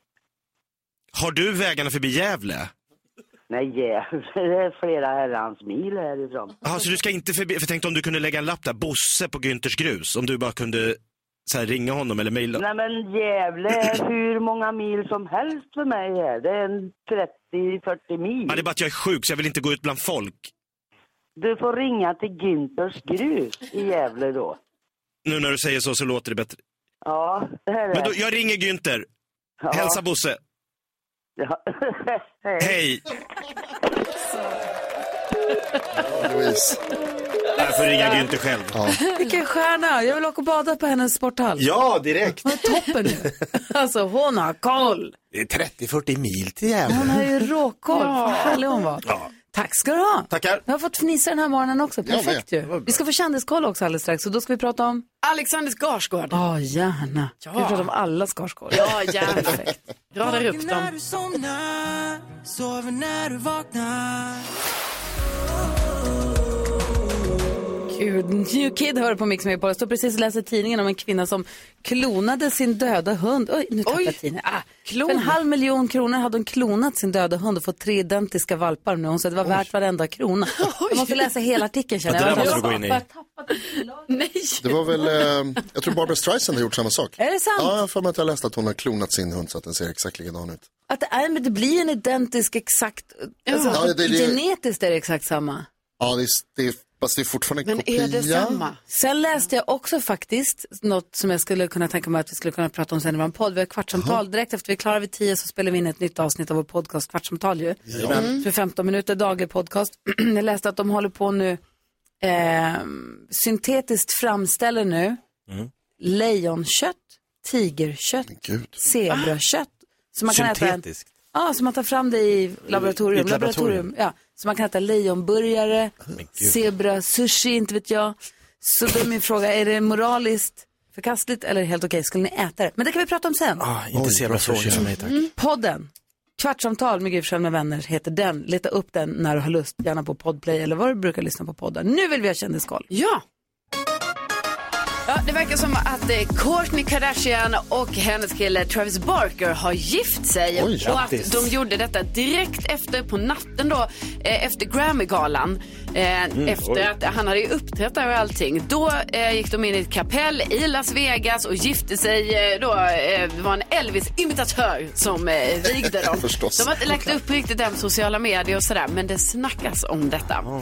Speaker 6: Har du vägarna förbi Gävle?
Speaker 15: Nej, Gävle det är flera herrans mil härifrån.
Speaker 6: Jaha, så du ska inte förbi? För tänkte om du kunde lägga en lapp där, Bosse på Günthers grus. Om du bara kunde så här, ringa honom eller mejla.
Speaker 15: Nej men Gävle är hur många mil som helst för mig här. Det är en 30-40 mil.
Speaker 6: Ja, det är bara att jag är sjuk så jag vill inte gå ut bland folk.
Speaker 15: Du får ringa till Günthers grus i Gävle då.
Speaker 6: Nu när du säger så så låter det bättre.
Speaker 15: Ja, det här är
Speaker 6: Men då, jag ringer Günther. Hälsa Bosse. Hej.
Speaker 9: Louise.
Speaker 6: Jag får ringa Günther själv.
Speaker 4: Vilken stjärna! Jag vill åka och bada på hennes sporthall.
Speaker 10: Alltså.
Speaker 6: Ja, direkt.
Speaker 4: Hon är toppen nu. Alltså hon har koll.
Speaker 6: Det är 30-40 mil till
Speaker 4: Hon
Speaker 6: Gävle.
Speaker 4: har ju råkoll. Vad härlig hon var. Tack ska du ha.
Speaker 6: Tackar.
Speaker 4: Jag har fått fnissa den här morgonen också.
Speaker 10: Jag
Speaker 4: Perfekt
Speaker 10: med. Det
Speaker 4: ju. Vi ska få kändiskoll också alldeles strax och då ska vi prata om...
Speaker 10: Alexanders Skarsgård.
Speaker 4: Ja, gärna.
Speaker 10: Ja.
Speaker 4: Vi pratar om alla Skarsgård.
Speaker 10: Ja, gärna. Radar upp
Speaker 1: När
Speaker 10: dem.
Speaker 1: du somnar, sover när du vaknar.
Speaker 4: Gud, New Kid hör på Mix Megapol. Jag står precis och läser tidningen om en kvinna som klonade sin döda hund. Oj, nu tappade jag tidningen. Ah,
Speaker 10: klon.
Speaker 4: För en halv miljon kronor hade hon klonat sin döda hund och fått tre identiska valpar nu. Hon sa att det var värt varenda krona. Jag måste läsa hela artikeln känner
Speaker 9: Ja, det
Speaker 4: jag.
Speaker 9: där
Speaker 4: Jag
Speaker 9: måste vi gå in i.
Speaker 4: bara tappade-
Speaker 9: Det var väl, eh, jag tror Barbara Streisand har gjort samma sak.
Speaker 4: Är det sant?
Speaker 9: Ja, jag har för mig att jag läste att hon har klonat sin hund så att den ser exakt likadan ut.
Speaker 4: Att det, är, men det blir en identisk exakt, alltså,
Speaker 9: Ja, det- det-
Speaker 4: genetiskt är det exakt samma.
Speaker 9: Ja, det är, det är, fast det är fortfarande en kopia.
Speaker 4: Sen läste jag också faktiskt något som jag skulle kunna tänka mig att vi skulle kunna prata om sen i vår podd. Vi har kvartsamtal. Direkt efter vi är klara vid tio så spelar vi in ett nytt avsnitt av vår podcast Kvartsamtal ju.
Speaker 10: Ja. Mm.
Speaker 4: För 15 minuter daglig podcast. jag läste att de håller på nu, eh, syntetiskt framställer nu
Speaker 1: Mm.
Speaker 4: lejonkött, tigerkött,
Speaker 9: Gud.
Speaker 4: zebrakött. Så man kan äta en,
Speaker 1: Syntetiskt.
Speaker 4: Ja, så man tar fram det i laboratorium.
Speaker 1: I ett laboratorium.
Speaker 4: laboratorium. Ja, så man kan äta lejonburgare, zebra, sushi, inte vet jag. Så då är min fråga, är det moraliskt förkastligt eller helt okej? Skulle ni äta det? Men det kan vi prata om sen.
Speaker 6: Ah, inte zebrafrågor för mig tack.
Speaker 4: Mm. Podden, Kvartsamtal med Gry Forssell med vänner heter den. Leta upp den när du har lust, gärna på Podplay eller var du brukar lyssna på poddar. Nu vill vi ha kändiskoll.
Speaker 10: Ja. Ja, det verkar som att eh, Kourtney Kardashian och hennes kille Travis Barker har gift sig.
Speaker 1: Oj,
Speaker 10: och att
Speaker 1: grattis.
Speaker 10: de gjorde detta direkt efter, på natten då, eh, efter Grammy-galan. Eh,
Speaker 1: Mm,
Speaker 10: efter
Speaker 1: oj.
Speaker 10: att han hade ju uppträtt där och allting. Då eh, gick de in i ett kapell i Las Vegas och gifte sig eh, då. Eh, det var en Elvis-imitatör som eh, vigde dem.
Speaker 1: Förstås.
Speaker 10: De har inte lagt upp riktigt den på sociala medier och sådär, men det snackas om detta.
Speaker 6: Oh.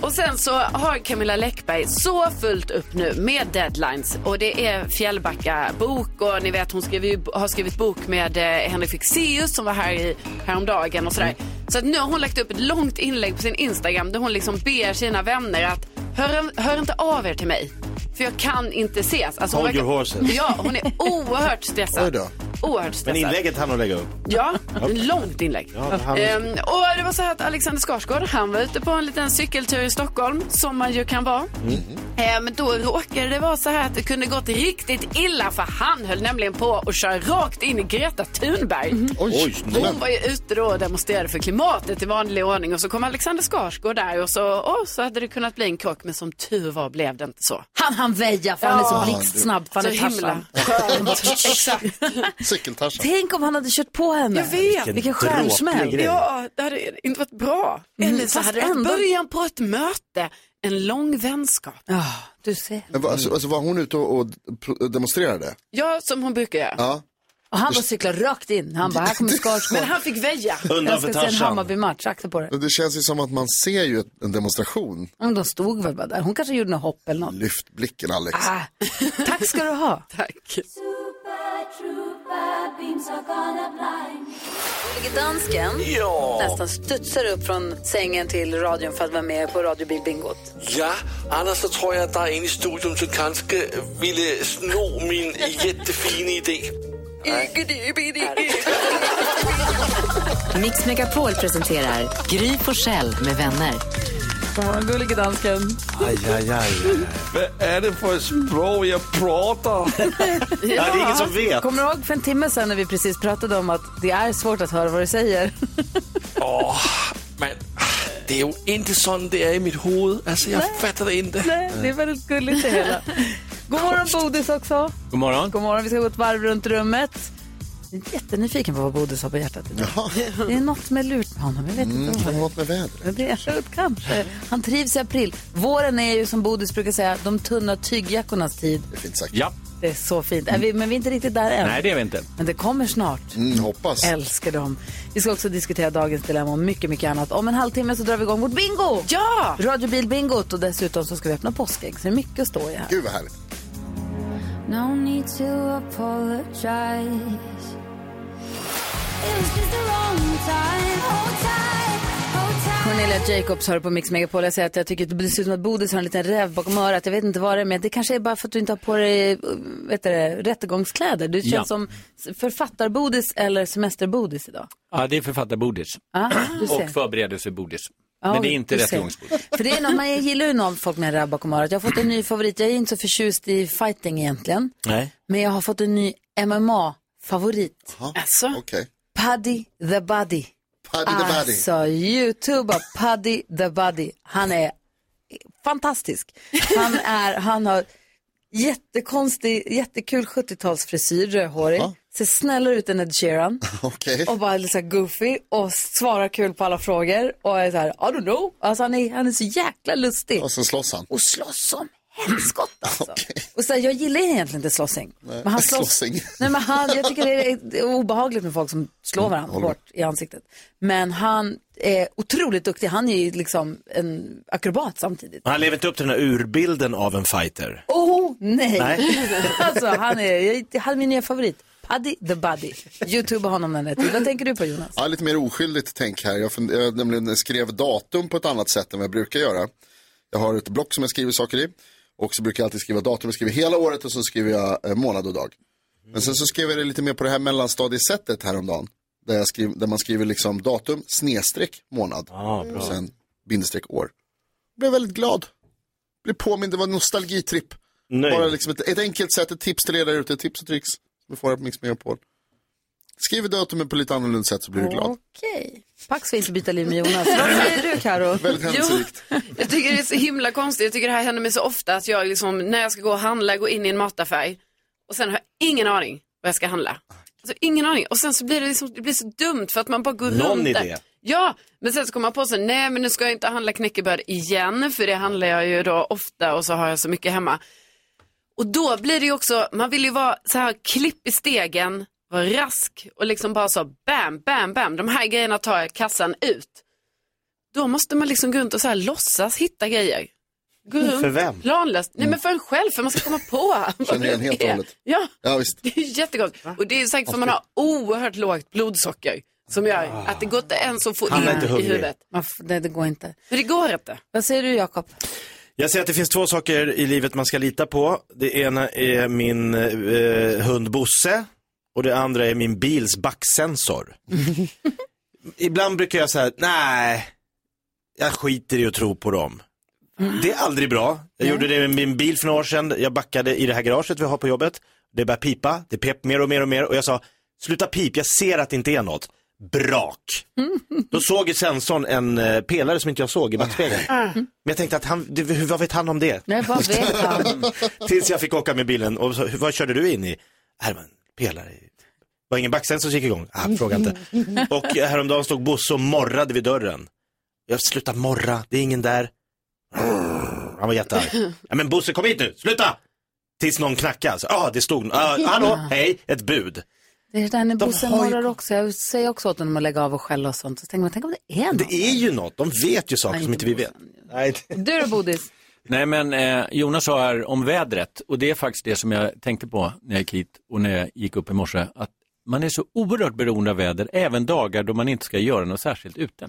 Speaker 10: Och sen så har Camilla Läckberg så fullt upp nu med deadlines och det är Fjällbacka bok och ni vet hon skrev ju, har skrivit bok med eh, Henrik Fexeus som var här i, häromdagen och sådär.
Speaker 6: Mm.
Speaker 10: Så att nu har hon lagt upp ett långt inlägg på sin Instagram där hon liksom ber sina vänner att hör, hör inte av er till mig. För jag kan inte ses. Alltså, hon
Speaker 6: Hold your
Speaker 10: verkar-
Speaker 6: horses.
Speaker 10: Ja, hon är oerhört stressad.
Speaker 6: Oj då.
Speaker 10: Oerhört
Speaker 6: Men
Speaker 10: stressad.
Speaker 6: inlägget hann hon lägga upp.
Speaker 10: Ja, en långt inlägg.
Speaker 6: Ja, han-
Speaker 10: Ehm, och det var så här att Alexander Skarsgård, han var ute på en liten cykeltur i Stockholm, som man ju kan vara.
Speaker 1: Mm.
Speaker 10: Ehm, då råkade det vara så här att det kunde gått riktigt illa för han höll nämligen på att köra rakt in i Greta Thunberg.
Speaker 9: Oj,
Speaker 10: Hon var ju ute då och demonstrerade för klimatet i vanlig ordning och så kom Alexander Skarsgård där och så, åh, så hade det kunnat bli en krock men som tur var blev det inte så.
Speaker 4: Han han väja för han är så blixtsnabb. för Han
Speaker 10: Så
Speaker 4: är Tarzan.
Speaker 10: himla skönt. Exakt.
Speaker 9: Cykeltarzan.
Speaker 4: Tänk om han hade kört på henne.
Speaker 10: Jag vet.
Speaker 4: Vilken stjärnsmäll.
Speaker 10: Ja, det hade inte varit bra.
Speaker 4: Mm,
Speaker 10: Eller så
Speaker 4: fast
Speaker 10: hade det varit
Speaker 4: ändå-
Speaker 10: början på ett möte. En lång vänskap.
Speaker 4: Ja, du ser.
Speaker 9: Men var- Alltså, alltså var hon ute och, och pro- demonstrerade?
Speaker 10: Ja, som hon brukar göra.
Speaker 9: Ja.
Speaker 4: Och han bara cyklar rakt in. Han bara, här kommer Skarsgård.
Speaker 10: Men han fick väja.
Speaker 9: Undan
Speaker 4: Jag
Speaker 9: för
Speaker 4: ska se en
Speaker 9: Tarzan.
Speaker 4: Hammarby-match, akta på det.
Speaker 9: Det känns ju som att man ser ju en demonstration.
Speaker 4: Ja, Men de stod väl bara där. Hon kanske gjorde något hopp eller något.
Speaker 9: Lyft blicken Alex.
Speaker 4: Ah, tack ska du ha.
Speaker 10: Tack.
Speaker 4: Dansken
Speaker 12: Ja.
Speaker 4: nästan studsar upp från sängen till radion för att vara med på radiobilbingot.
Speaker 12: Ja, annars så tror jag att där inne i studion så kanske ville sno min jättefina idé.
Speaker 11: Mix Megapol presenterar Gry på med vänner.
Speaker 4: God morgon, gullige dansken.
Speaker 6: Aj, aj, aj.
Speaker 12: Vad är det för språk jag pratar?
Speaker 6: det är ingen som vet.
Speaker 4: Kommer du ihåg för en timme sedan när vi precis pratade om att det är svårt att höra vad du säger?
Speaker 12: Åh, men det är ju inte sån det är i mitt huvud. Alltså, jag fattar det inte.
Speaker 4: Nej, det är väldigt gulligt det hela. God morgon Bodis också.
Speaker 12: God morgon.
Speaker 4: God morgon, vi ska gå ett varv runt rummet. Jag är jättenyfiken på vad Bodis har på hjärtat idag. Det är något med lurt med honom, jag vet
Speaker 9: Mm,
Speaker 4: inte
Speaker 9: kan
Speaker 4: vad.
Speaker 9: det vara något med vädret?
Speaker 4: Det är kanske. Han trivs i april. Våren är ju som Bodis brukar säga, de tunna tygjackornas tid.
Speaker 9: Det är fint sagt.
Speaker 18: Ja.
Speaker 4: Det är så fint. Är vi, men vi är inte riktigt där än.
Speaker 18: Nej, det är vi inte.
Speaker 4: Men det kommer snart.
Speaker 9: Mm, hoppas.
Speaker 4: Älskar dem. Vi ska också diskutera dagens dilemma och mycket, mycket annat. Om en halvtimme så drar vi igång vårt bingo!
Speaker 10: Ja!
Speaker 4: Radiobilbingot och dessutom så ska vi öppna påskägg. Så det är mycket att stå i här.
Speaker 9: Gud vad härligt.
Speaker 7: No need to apologize. It was just the wrong time. Hold tight, hold tight.
Speaker 4: Cornelia Jacobs hör på Mix Megapol. Jag säger att jag tycker att det ser ut som att Bodis har en liten räv bakom örat. Jag vet inte vad det är, men det kanske är bara för att du inte har på dig eh, vet du, det, rättegångskläder. Du känns
Speaker 18: Ja.
Speaker 4: som författarbodis eller semesterbodis idag.
Speaker 18: Ja, det är författarbodis.
Speaker 4: Ja, Ah, du ser.
Speaker 18: Och förberedelsebodis.
Speaker 4: Ja,
Speaker 18: Men det är
Speaker 4: du-
Speaker 18: inte
Speaker 4: du ser.
Speaker 18: rättegångsbodis.
Speaker 4: För det är något, man gillar ju någon folk med en räv bakom örat. Jag har fått en ny favorit. Jag är inte så förtjust i fighting egentligen.
Speaker 6: Nej.
Speaker 4: Men jag har fått en ny MMA-favorit.
Speaker 9: Alltså? Okej.
Speaker 4: Paddy the Buddy.
Speaker 9: Paddy the Buddy.
Speaker 4: Alltså, youtuba Paddy the Buddy. Han är fantastisk. Han, är, han har jättekonstig, jättekul 70-talsfrisyr, rödhårig. Ser snällare ut än Ed Sheeran.
Speaker 9: Okej.
Speaker 4: Och bara lite så här goofy och svarar kul på alla frågor. Och är så här, I don't know. Alltså han är, han är så jäkla lustig.
Speaker 9: Och sen slåss han.
Speaker 4: Och slåss som helskott alltså. Och så här, jag gillar egentligen inte slåssing.
Speaker 9: Nej,
Speaker 4: Men han slåss.
Speaker 9: slåssing.
Speaker 4: Nej, men han, jag tycker det är, det är obehagligt med folk som slår varandra
Speaker 9: håller med.
Speaker 4: bort i ansiktet. Men han är otroligt duktig. Han är ju liksom en akrobat samtidigt.
Speaker 6: Men han lever inte upp till den här urbilden av en fighter.
Speaker 4: Åh oh, nej!
Speaker 6: Nej.
Speaker 4: alltså han är, jag, han är min nya favorit. Paddy the Buddy. Youtube honom den här tiden. Vad tänker du på Jonas?
Speaker 9: Ja, lite mer oskyldigt tänk här. Jag, fund- jag nämligen skrev datum på ett annat sätt än vad jag brukar göra. Jag har ett block som jag skriver saker i. Och så brukar jag alltid skriva datum. Jag skriver hela året och så skriver jag eh, månad och dag. Men sen så skrev jag det lite mer på det här mellanstadiesättet häromdagen. Där, jag skriv, där man skriver liksom datum, snedstreck, månad.
Speaker 6: bra.
Speaker 9: och sen bindestreck år. Blev väldigt glad. Blev påmind, det var en nostalgitripp. Bara liksom ett, ett enkelt sätt, ett tips till er där ute, ett tips och tricks. Som vi får här på Mix Megapol. Skriv datumen på lite annorlunda sätt så blir du glad.
Speaker 4: Okej. Pax vill inte byta liv med Jonas. Vad säger du Karo?
Speaker 10: Jag tycker det är så himla konstigt. Jag tycker det här händer mig så ofta att jag liksom, när jag ska gå och handla, går in i en mataffär och sen har jag ingen aning vad jag ska handla. Alltså ingen aning. Och sen så blir det liksom, det blir så dumt för att man bara går
Speaker 6: Någon
Speaker 10: runt
Speaker 6: idé.
Speaker 10: där. Ja, men sen så kommer man på sig, nej men nu ska jag inte handla knäckebröd igen, för det handlar jag ju då ofta och så har jag så mycket hemma. Och då blir det ju också, man vill ju vara så här klipp i stegen, vara rask och liksom bara så bam, bam, bam, de här grejerna tar jag kassan ut. Då måste man liksom gå runt och så här låtsas hitta grejer. Gå
Speaker 9: Mm,
Speaker 10: runt
Speaker 9: för vem?
Speaker 10: planlöst. Nej men för en själv, för man ska komma på vad
Speaker 9: Känner igen
Speaker 10: det
Speaker 9: helt och
Speaker 10: är.
Speaker 9: hållet.
Speaker 10: Ja,
Speaker 9: Ja, visst.
Speaker 10: det är jättegott. Och det är säkert för man har oerhört lågt blodsocker som gör att det går inte ens att få
Speaker 4: Han är
Speaker 10: in
Speaker 4: inte
Speaker 10: i
Speaker 4: hungrig.
Speaker 10: huvudet.
Speaker 4: Man f- nej, det går inte.
Speaker 10: Men det går inte.
Speaker 4: Vad säger du Jakob?
Speaker 6: Jag säger att det finns två saker i livet man ska lita på. Det ena är min eh, hund Bosse och det andra är min bils backsensor. Ibland brukar jag säga, nej, jag skiter i att tro på dem. Det är aldrig bra. Jag gjorde det med min bil för några år sedan. Jag backade i det här garaget vi har på jobbet. Det började pipa, det pep mer och mer och mer och jag sa, sluta pip, jag ser att det inte är något. Brak. Då såg ju sensorn en eh, pelare som inte jag såg i backspegeln. Men jag tänkte att han, det, hur- vad vet han om det?
Speaker 4: Nej, vad vet han?
Speaker 6: Tills jag fick åka med bilen och så, vad körde du in i? Här var en pelare. i- Det var ingen backsensor som gick igång. Ah, fråga inte.
Speaker 4: Mm.
Speaker 6: Och häromdagen stod Bosse och morrade vid dörren. Jag sluta morra, det är ingen där. Han var jättearg. Ja, men Bosse kom hit nu, sluta! Tills någon knackade. Så, ah, det stod, ah, hallå, hej, ett bud.
Speaker 4: Det är där när Bosse morrar också. Jag säger också åt honom att lägga av och skälla och sånt. Så tänker man, tänk om det är något.
Speaker 6: Det är ju något, de vet ju saker
Speaker 4: Nej,
Speaker 6: som
Speaker 4: inte
Speaker 6: inte vi vet. Nej.
Speaker 4: Du då Bodis?
Speaker 18: Nej, men eh, Jonas sa här om vädret och det är faktiskt det som jag tänkte på när jag gick hit och när jag gick upp i morse. Att man är så oerhört beroende av väder, även dagar då man inte ska göra något särskilt ute.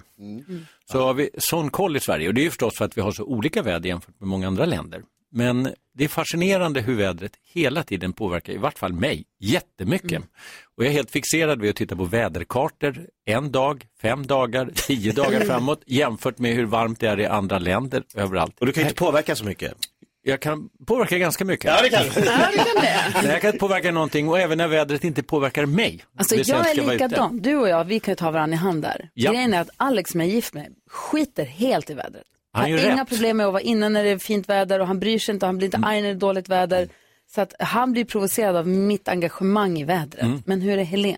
Speaker 18: Så har vi sån koll i Sverige och det är ju förstås för att vi har så olika väder jämfört med många andra länder. Men det är fascinerande hur vädret hela tiden påverkar, i vart fall mig, jättemycket.
Speaker 6: Mm.
Speaker 18: Och jag är helt fixerad vid att titta på väderkartor en dag, fem dagar, tio dagar framåt jämfört med hur varmt det är i andra länder överallt. Och
Speaker 6: du kan ju inte påverka så mycket.
Speaker 18: Jag kan påverka ganska mycket.
Speaker 6: Ja, det kan du.
Speaker 18: Nej, jag kan inte påverka någonting och även när vädret inte påverkar mig.
Speaker 4: Alltså
Speaker 18: Det sen
Speaker 4: jag
Speaker 18: ska
Speaker 4: är
Speaker 18: vara ute.
Speaker 4: likadan. Du och jag, vi kan ju ta varandra i hand där.
Speaker 18: Ja.
Speaker 4: Grejen är att Alex som jag är gift med skiter helt i vädret.
Speaker 18: Han
Speaker 4: har
Speaker 18: gör
Speaker 4: inga
Speaker 18: rätt. Mm.
Speaker 4: problem med att vara inne när det är fint väder och han bryr sig inte och han blir inte arg när det är dåligt väder. Så att han blir provocerad av mitt engagemang i vädret.
Speaker 18: Mm.
Speaker 4: Men hur är Helen?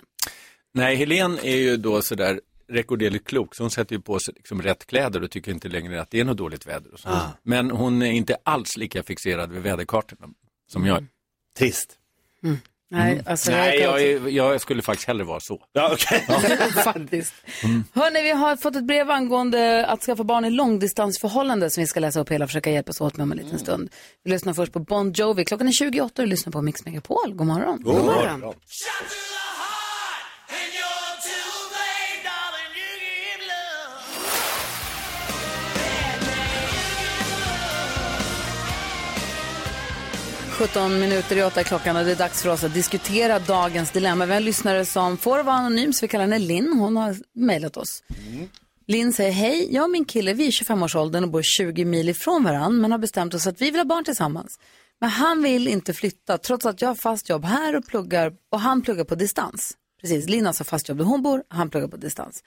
Speaker 18: Nej, Helen är ju då sådär rekorderligt klok, så hon sätter ju på sig liksom rätt kläder och tycker inte längre att det är något dåligt väder. Och så.
Speaker 6: Ah.
Speaker 18: Men hon är inte alls lika fixerad vid väderkartorna som jag.
Speaker 6: Trist. Mm.
Speaker 4: Nej, alltså jag
Speaker 18: Mm. Nej
Speaker 4: kan
Speaker 18: jag, är, jag skulle faktiskt hellre vara så.
Speaker 6: Ja, okay.
Speaker 4: Faktiskt. Hörni, vi har fått ett brev angående att skaffa barn i långdistansförhållande som vi ska läsa upp hela och försöka hjälpas åt med om en
Speaker 18: Mm.
Speaker 4: liten stund. Vi lyssnar först på Bon Jovi. Klockan är 28 och du lyssnar på Mix Megapol. God morgon.
Speaker 7: God morgon.
Speaker 4: morgon. 17 minuter i 8 klockan och det är dags för oss att diskutera dagens dilemma. Vi har en lyssnare som får vara anonym så vi kallar henne Linn. Hon har mejlat oss. Linn säger hej, jag och min kille vi är i 25-årsåldern och bor 20 mil ifrån varandra men har bestämt oss att vi vill ha barn tillsammans. Men han vill inte flytta trots att jag har fast jobb här och pluggar och han pluggar på distans. Precis, Linn har alltså fast jobb där hon bor, han pluggar på distans.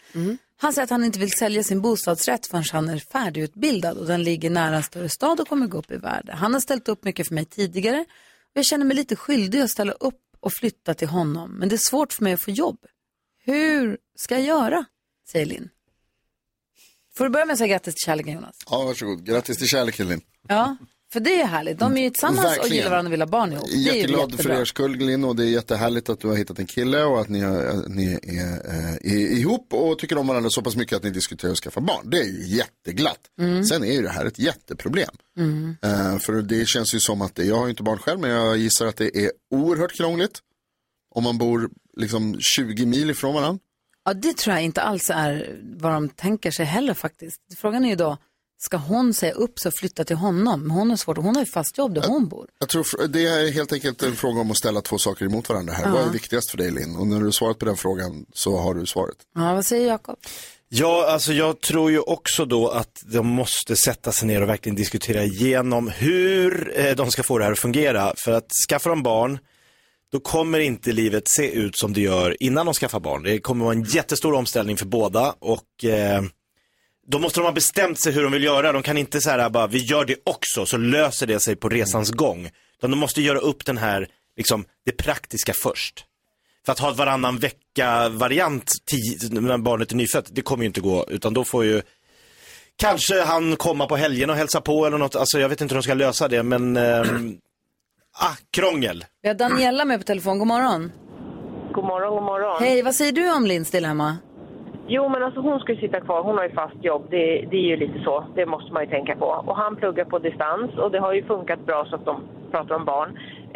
Speaker 4: Han säger att han inte vill sälja sin bostadsrätt förrän han är färdigutbildad och den ligger nära en större stad och kommer gå upp i värde. Han har ställt upp mycket för mig tidigare och jag känner mig lite skyldig att ställa upp och flytta till honom men det är svårt för mig att få jobb. Hur ska jag göra? säger Linn. Får du börja med att säga grattis till kärleken Jonas?
Speaker 9: Ja, varsågod. Grattis till kärleken, Linn.
Speaker 4: Ja, för det är ju härligt. De är ju tillsammans och
Speaker 9: Verkligen.
Speaker 4: gillar varandra och vill ha barn ihop. Det är ju
Speaker 9: Jätteglad för
Speaker 4: jättebra.
Speaker 9: er skull, Linn, och det är jättehärligt att du har hittat en kille och att ni, har, att ni är, eh, är ihop och tycker om varandra så pass mycket att ni diskuterar att skaffa barn. Det är ju jätteglatt.
Speaker 7: Mm.
Speaker 9: Sen är ju det här ett jätteproblem.
Speaker 18: Mm.
Speaker 9: Eh, för det känns ju som att, det, jag har ju inte barn själv, men jag gissar att det är oerhört krångligt. Om man bor liksom 20 mil ifrån varandra.
Speaker 4: Ja, det tror jag inte alls är vad de tänker sig heller faktiskt. Frågan är ju då, ska hon säga upp sig och flytta till honom? Men Hon har svårt, hon har ju fast jobb där hon bor.
Speaker 9: Jag tror fr- det är helt enkelt en fråga om att ställa två saker emot varandra här.
Speaker 4: Ja.
Speaker 9: Vad är viktigast för dig, Linn? Och när du har svarat på den frågan så har du svaret.
Speaker 4: Ja, vad säger Jakob?
Speaker 6: Ja, alltså jag tror ju också då att de måste sätta sig ner och verkligen diskutera igenom hur eh, de ska få det här att fungera. För att skaffa de barn, då kommer inte livet se ut som det gör innan de skaffar barn. Det kommer vara en jättestor omställning för båda och eh, då måste de ha bestämt sig hur de vill göra. De kan inte så här bara, vi gör det också, så löser det sig på resans gång. Utan de måste göra upp den här, liksom, det praktiska först. För att ha ett varannan vecka-variant ti- när barnet är nyfött, det kommer ju inte gå. Utan då får ju kanske han komma på helgen och hälsa på eller något. Alltså jag vet inte hur de ska lösa det, men ehm, ah, krångel.
Speaker 4: Vi har Daniela med på telefon, god morgon.
Speaker 17: God morgon, god morgon.
Speaker 4: Hej, vad säger du om Linns dilemma?
Speaker 17: Jo, men alltså hon ska ju sitta kvar. Hon har ju fast jobb. Det, det är ju lite så. Det måste man ju tänka på. Och han pluggar på distans och det har ju funkat bra så att de pratar om barn.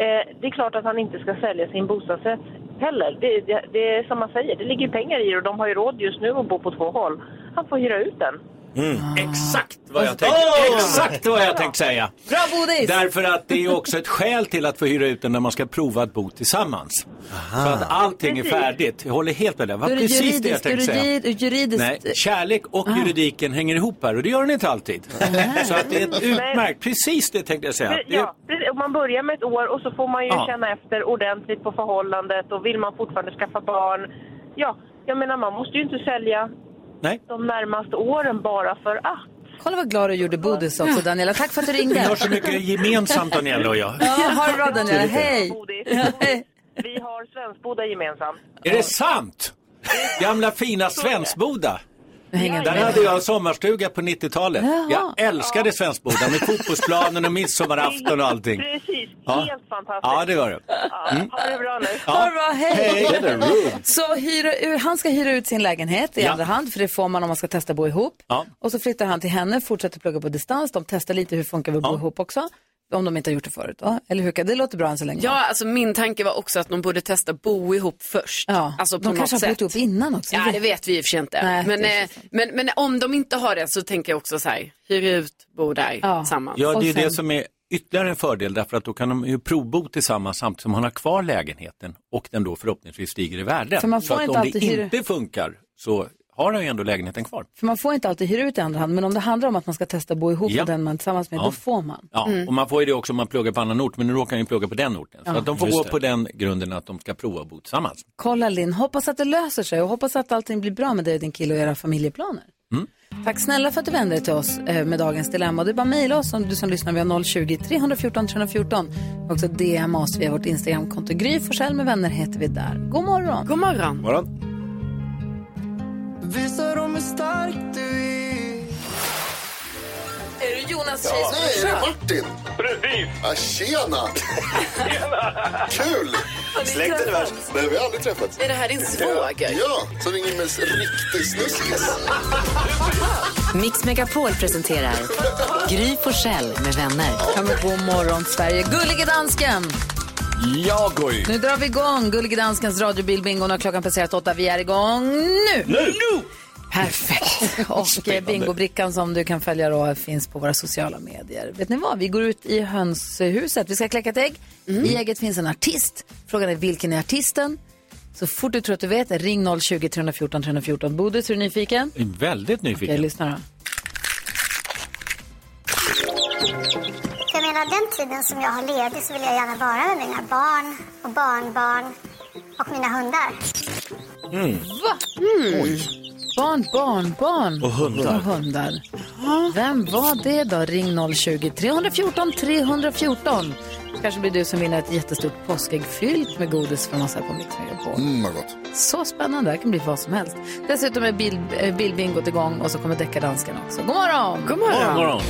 Speaker 17: Eh, det är klart att han inte ska sälja sin bostadsrätt heller. Det, det, det är som man säger, det ligger ju pengar i det och de har ju råd just nu att bo på två håll. Han får hyra ut den.
Speaker 6: Mm.
Speaker 19: Ah.
Speaker 18: Exakt vad jag tänkte,
Speaker 19: Åh!
Speaker 18: exakt vad jag tänkte säga.
Speaker 19: Bra Bodis!
Speaker 18: Därför att det är ju också ett skäl till att få hyra ut den när man ska prova att bo tillsammans. Så att allting är
Speaker 19: Precis.
Speaker 18: färdigt. Jag håller helt med dig. Det
Speaker 19: Då
Speaker 18: var
Speaker 19: är det
Speaker 18: precis det jag
Speaker 19: juridiskt, då
Speaker 18: tänkte
Speaker 19: är det
Speaker 18: säga.
Speaker 19: jur- juridiskt.
Speaker 18: Nej, kärlek och
Speaker 17: Ah.
Speaker 18: juridiken hänger ihop här och det gör den inte alltid. Så att det är ett utmärkt, precis det tänkte jag säga. Det är
Speaker 17: Ja, precis. Och man börjar med ett år och så får man ju
Speaker 18: Ja.
Speaker 17: känna efter ordentligt på förhållandet och vill man fortfarande skaffa barn. Ja, jag menar man måste ju inte sälja
Speaker 18: Nej.
Speaker 17: de närmaste åren bara för att.
Speaker 4: Kolla vad glad du gjorde Bodis också Daniela. Tack för att du ringde.
Speaker 18: Vi har så mycket gemensamt Daniela och jag.
Speaker 4: Ja, ha det bra Daniela.
Speaker 18: Till det.
Speaker 4: Hej!
Speaker 17: Vi har Svenskboda gemensamt.
Speaker 18: Är det sant? Gamla fina Svensboda.
Speaker 17: hänger
Speaker 18: Där
Speaker 17: med.
Speaker 18: hade jag en sommarstuga på 90-talet.
Speaker 17: Jaha.
Speaker 18: Jag älskade Svensboda med fotbollsplanen och midsommarafton och allting.
Speaker 17: Precis,
Speaker 18: Ja.
Speaker 17: helt fantastiskt.
Speaker 18: Ja, det var det. Mm.
Speaker 17: Ha det bra nu.
Speaker 18: Ja.
Speaker 4: Ha det bra, hej!
Speaker 18: Hej. Det är roligt.
Speaker 4: Så hyra ur, han ska hyra ut sin lägenhet i
Speaker 18: Ja.
Speaker 4: andra hand, för det får man om man ska testa bo ihop.
Speaker 18: Ja.
Speaker 4: Och så flyttar han till henne, fortsätter plugga på distans. De testar lite hur funkar vi att bo ihop också. Om de inte har gjort det förut. va? Eller hur? Det låter bra än så länge.
Speaker 10: Ja, alltså min tanke var också att de borde testa bo ihop först.
Speaker 4: Ja.
Speaker 10: Alltså på
Speaker 4: de
Speaker 10: något
Speaker 4: kanske har
Speaker 10: sätt.
Speaker 4: bott ihop innan också.
Speaker 10: Ja, det vet vi i och för sig inte.
Speaker 4: Nej,
Speaker 10: men,
Speaker 4: det är
Speaker 10: eh, men, men om de inte har det så tänker jag också så här, hyr ut, bo där tillsammans.
Speaker 18: Ja, det är ju det som är ytterligare en fördel därför att då kan de ju provbo tillsammans samtidigt som han har kvar lägenheten och den då förhoppningsvis stiger i värde.
Speaker 4: För man
Speaker 18: så
Speaker 4: får
Speaker 18: att
Speaker 4: inte
Speaker 18: om det
Speaker 4: alltid hyra-
Speaker 18: inte funkar så har han ju ändå lägenheten kvar.
Speaker 4: För man får inte alltid hyra ut i andra hand, men om det handlar om att man ska testa bo ihop
Speaker 18: Ja.
Speaker 4: med den man är tillsammans med,
Speaker 18: Ja.
Speaker 4: då får man.
Speaker 18: Ja,
Speaker 4: Mm.
Speaker 18: och man får ju det också om man pluggar på annan ort, men nu råkar han ju plugga på den orten. Så
Speaker 4: Ja.
Speaker 18: att de får
Speaker 4: Just
Speaker 18: gå
Speaker 4: det.
Speaker 18: på den grunden att de ska prova att bo tillsammans.
Speaker 4: Kolla Linn, hoppas att det löser sig och hoppas att allting blir bra med dig och din kille och era familjeplaner.
Speaker 18: Mm.
Speaker 4: Tack snälla för att du vände dig till oss eh, med dagens dilemma. Det är bara att mejla oss om du som lyssnar. Vi har 020 314 314. Också DM oss via vårt Instagramkonto. Gry Forssell med vänner heter vi där. God morgon.
Speaker 10: God morgon.
Speaker 18: morgon.
Speaker 7: Visa dem hur stark du är.
Speaker 4: Är du Jonas
Speaker 7: ja.
Speaker 4: Tjej som
Speaker 7: Nej, är det
Speaker 4: försvann?
Speaker 9: Martin! Precis! Ja, tjena! Kul!
Speaker 10: Släkten är värst.
Speaker 9: Nej, vi har aldrig träffats.
Speaker 10: Är det här din svåger?
Speaker 9: Ja, som ringer med riktig snuskis.
Speaker 11: Mix Megapol presenterar Gry Forssell med vänner.
Speaker 4: Ja, men god morgon Sverige. Gullige dansken!
Speaker 12: Ja, Gry.
Speaker 4: Nu drar vi igång Gullige danskens radiobilbingo. Nu har klockan passerat åtta. Vi är igång nu!
Speaker 7: Nu!
Speaker 4: Perfekt. Och eh, bingobrickan som du kan följa då finns på våra sociala medier. Vet ni vad? Vi går ut i hönshuset. Vi ska kläcka ett ägg. I ägget finns en artist. Frågan är vilken är artisten? Så fort du tror att du vet, ring 020 314 314. Bodis, är du nyfiken?
Speaker 18: Jag är väldigt nyfiken.
Speaker 4: Okej, lyssna då.
Speaker 16: För jag menar, den tiden som jag har ledig så vill jag gärna vara med mina barn och barnbarn och mina hundar.
Speaker 4: Va? Mm. Barn, barn, barn.
Speaker 7: Och hundar.
Speaker 4: Och hundar. Vem var det då? Ring 020 314 314. Kanske blir du som vinner ett jättestort påskägg fyllt med godis från oss här på Mix Megapol.
Speaker 9: Mm, vad gott.
Speaker 4: Så spännande, det kan bli vad som helst. Dessutom är bil- eh, bilbingot igång och så kommer deckardansken också. God morgon!
Speaker 10: God morgon.
Speaker 7: God morgon.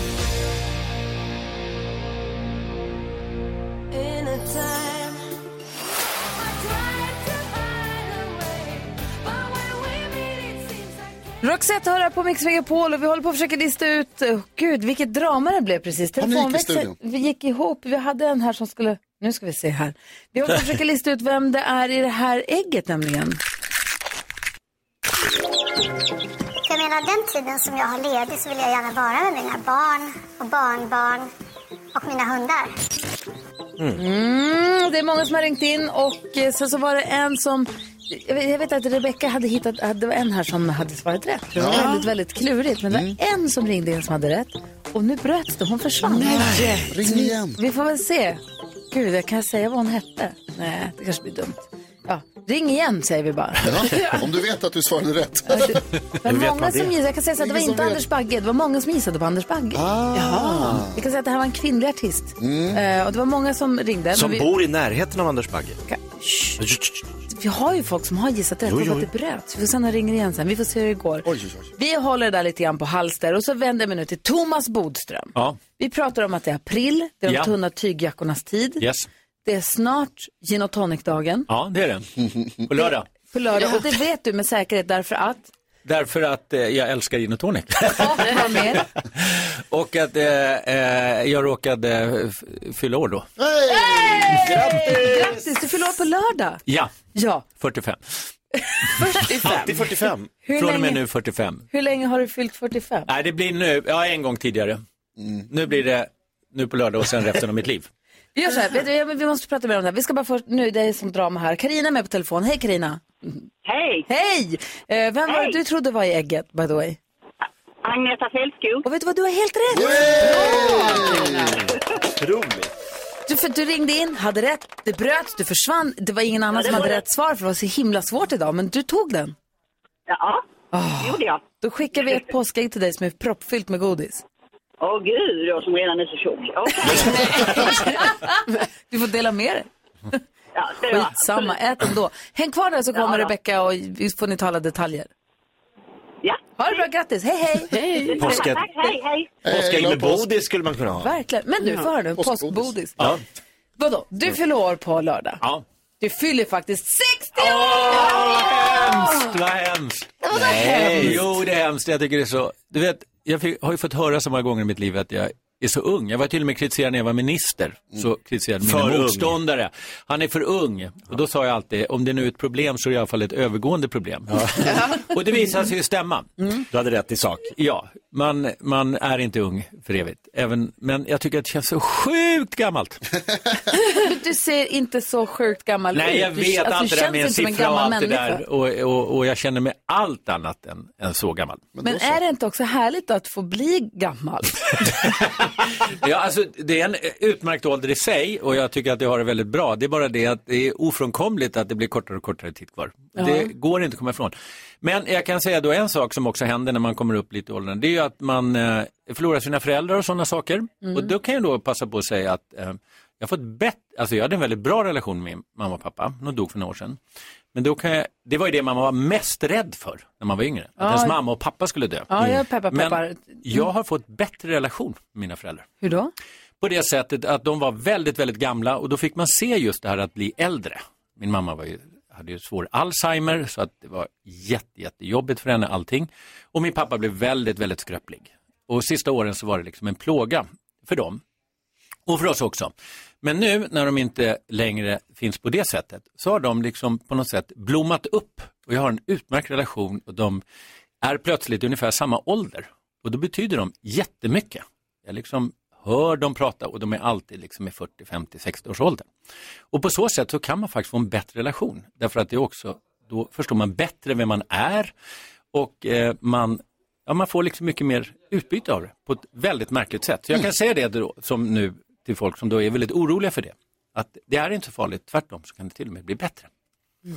Speaker 4: Roxette hör här på Mix Megapol och vi håller på att försöka lista ut, oh, gud vilket drama det blev precis.
Speaker 7: Ja, nu gick det i
Speaker 4: Telefonväxeln-
Speaker 7: studion.
Speaker 4: vi gick ihop, vi hade en här som skulle, nu ska vi se här. Vi håller på att försöka lista ut vem det är i det här ägget nämligen.
Speaker 16: För jag menar, den tiden som jag har ledig så vill jag gärna vara med mina barn och barnbarn och mina hundar.
Speaker 4: Mm, det är många som har ringt in och eh, sen så var det en som jag vet- jag vet att Rebecca hade hittat, att det var en här som hade svarat rätt. Det var
Speaker 10: Ja.
Speaker 4: väldigt, väldigt klurigt. Men det var en som ringde in som hade rätt. Och nu bröts det, hon försvann.
Speaker 10: Nej.
Speaker 4: Ring igen. Vi får väl se. Gud, jag kan säga vad hon hette. Nej, det kanske blir dumt. Ja, ring igen säger vi bara.
Speaker 9: Ja, om du vet att du svarade rätt.
Speaker 4: Det var många som gissade. Jag kan säga så att det var
Speaker 9: Ingen som
Speaker 4: inte
Speaker 9: vet.
Speaker 4: Anders Bagge. Det var många som gissade på Anders Bagge.
Speaker 6: Jaha.
Speaker 4: Vi kan säga att det här var en kvinnlig artist. Eh, och det var många som ringde. men
Speaker 6: Som
Speaker 4: vi...
Speaker 6: bor i närheten av Anders Bagge.
Speaker 4: Vi har ju folk som har gissat rätt
Speaker 6: Jo,
Speaker 4: och
Speaker 6: jo,
Speaker 4: att det
Speaker 6: jo.
Speaker 4: bröts. Vi får se när de ringer igen sen. Vi får se hur det går. Vi håller det där lite grann på halster och så vänder vi nu till Thomas Bodström.
Speaker 18: Ja,
Speaker 4: Vi pratar om att det är april, det är de
Speaker 18: Ja.
Speaker 4: tunna tygjackornas tid.
Speaker 18: yes.
Speaker 4: Det är snart gin och tonic-dagen
Speaker 18: Ja, det är den. På lördag.
Speaker 4: på lördag och det vet du med säkerhet därför att
Speaker 18: Därför att eh, jag älskar gin och tonic.
Speaker 4: vad mer?
Speaker 18: och att eh, eh, jag råkade eh, f- fylla år då.
Speaker 4: Hey! Grattis! du fyller år på lördag.
Speaker 18: Ja,
Speaker 4: Ja,
Speaker 18: 45.
Speaker 6: Alltid 45.
Speaker 4: Hur
Speaker 18: Från och med
Speaker 4: länge-
Speaker 18: nu 45.
Speaker 4: Hur länge har du fyllt 45?
Speaker 18: Nej, det blir nu, ja en gång tidigare. Nu blir det nu på lördag och sen resten av mitt liv.
Speaker 4: Vi gör så här, vet du, jag- vi måste prata mer om det här. Vi ska bara först, nu det är som drama här. Karina är med på telefon. Hej Karina.
Speaker 19: Hej!
Speaker 4: Hej! Eh, vem var det
Speaker 19: Hej.
Speaker 4: du trodde var i ägget, by the way?
Speaker 19: Agneta Fältskog.
Speaker 4: Och vet du vad, du har helt rätt!
Speaker 6: Otroligt.
Speaker 4: Du, för, du ringde in, hade rätt, det bröts, du försvann. Det var ingen annan
Speaker 19: det
Speaker 4: som hade
Speaker 19: var det.
Speaker 4: rätt svar för det var så himla svårt idag, men du tog den.
Speaker 19: Ja,
Speaker 4: Ah.
Speaker 19: det gjorde jag.
Speaker 4: Då skickar vi ett påskägg till dig som är proppfyllt med godis.
Speaker 19: Åh gud, jag som redan är så tjock. Okej,
Speaker 4: Du får dela med dig.
Speaker 19: ja, det var.
Speaker 4: Skitsamma, ät ändå. Häng kvar där så kommer Rebecka och vi får ni tala detaljer.
Speaker 19: Ja.
Speaker 4: Ha det bra, grattis. Hej, hej.
Speaker 19: hej.
Speaker 6: Påskägg.
Speaker 19: Tack, hej, hej.
Speaker 6: Påskägg med bodis skulle man kunna ha.
Speaker 4: Verkligen. Men du,
Speaker 19: Mm.
Speaker 6: Ja.
Speaker 4: får höra nu.
Speaker 6: Påskgodis.
Speaker 4: Påskbodis.
Speaker 6: Ja.
Speaker 4: Vadå, du fyller år på lördag.
Speaker 18: Ja.
Speaker 4: Du fyller faktiskt 60 år!
Speaker 18: Hemskt, vad hemskt.
Speaker 4: hemskt.
Speaker 18: Jo, det är hemskt. Jag tycker det är så. Du vet, jag fick, har ju fått höra så många gånger i mitt liv att jag är så ung. Jag var till och med kritiserad när jag var minister. Så kritiserade
Speaker 6: Mm. För
Speaker 18: mina
Speaker 6: ung.
Speaker 18: motståndare. Han är för ung. Och då sa jag alltid, om det nu är ett problem så är det i alla fall ett övergående problem. och det visar sig ju stämma.
Speaker 6: Mm. Du hade rätt i sak.
Speaker 18: Ja, man, man är inte ung för evigt. Även, men jag tycker att det känns så sjukt gammalt.
Speaker 4: Men Du ser inte så sjukt gammal ut.
Speaker 18: Nej, jag
Speaker 4: Du-
Speaker 18: vet
Speaker 4: alltså,
Speaker 18: allt det
Speaker 4: du
Speaker 18: där
Speaker 4: känns
Speaker 18: med en
Speaker 4: inte som
Speaker 18: siffra och
Speaker 4: gammal
Speaker 18: allt det
Speaker 4: människa.
Speaker 18: där. Och, och, och jag känner mig allt annat än, än så gammal.
Speaker 4: Men är det inte också härligt att få bli gammal?
Speaker 18: Ja, alltså, det är en utmärkt ålder i sig och jag tycker att jag har det väldigt bra. Det är bara det att det är ofrånkomligt att det blir kortare och kortare tid kvar.
Speaker 4: Ja.
Speaker 18: Det går inte att komma ifrån. Men jag kan säga då en sak som också händer när man kommer upp lite i åldern. Det är ju att man eh, förlorar sina föräldrar och sådana saker.
Speaker 12: Mm.
Speaker 18: Och då kan jag då passa på att säga att eh, jag, har fått bett, alltså jag hade en väldigt bra relation med min mamma och pappa. De dog för några år sedan. Men då kan jag, det var ju det man var mest rädd för när man var yngre. Att
Speaker 4: Ja.
Speaker 18: ens mamma och pappa skulle dö.
Speaker 4: Ja, jag peppar, peppar.
Speaker 18: Men jag har fått bättre relation med mina föräldrar
Speaker 4: Hur då?
Speaker 18: på det sättet att de var väldigt, väldigt gamla och då fick man se just det här att bli äldre. Min mamma var ju, hade ju svår Alzheimer så att det var jätte, jättejobbigt för henne allting. Och min pappa blev väldigt, väldigt skröplig. Och sista åren så var det liksom en plåga för dem. Och för oss också. Men nu när de inte längre finns på det sättet så har de liksom på något sätt blommat upp och jag har en utmärkt relation och de är plötsligt ungefär samma ålder. Och då betyder de jättemycket. Jag liksom hör dem prata och de är alltid liksom i 40, 50, 60 års ålder. Och på så sätt så kan man faktiskt få en bättre relation. Därför att det är också, då förstår man bättre vem man är och eh, man, ja, man får liksom mycket mer utbyte av det på ett väldigt märkligt sätt. Så jag kan säga det då, som nu till folk som då är väldigt oroliga för det. Att det är inte så farligt, tvärtom så kan det till och med bli bättre.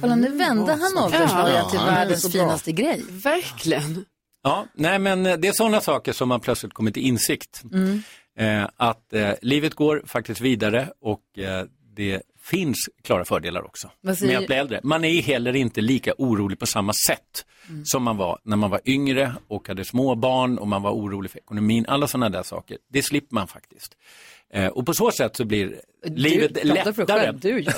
Speaker 4: Kolla,
Speaker 10: Mm.
Speaker 4: nu vände han åldersnojan
Speaker 18: Ja,
Speaker 4: till
Speaker 18: han är
Speaker 4: världens
Speaker 18: så bra.
Speaker 4: finaste grej. Verkligen.
Speaker 18: Ja, nej men eh, det är sådana saker som man plötsligt kommer till insikt.
Speaker 4: Mm.
Speaker 18: Eh, att eh, livet går faktiskt vidare och eh, det finns klara fördelar också
Speaker 4: Vad säger-
Speaker 18: med att bli äldre. Man är heller inte lika orolig på samma sätt
Speaker 4: Mm.
Speaker 18: som man var när man var yngre och hade små barn och man var orolig för ekonomin. Alla sådana där saker, det slipper man faktiskt. Eh, och på så sätt så blir livet
Speaker 4: pratar för dig
Speaker 18: lättare.
Speaker 4: själv, du gör.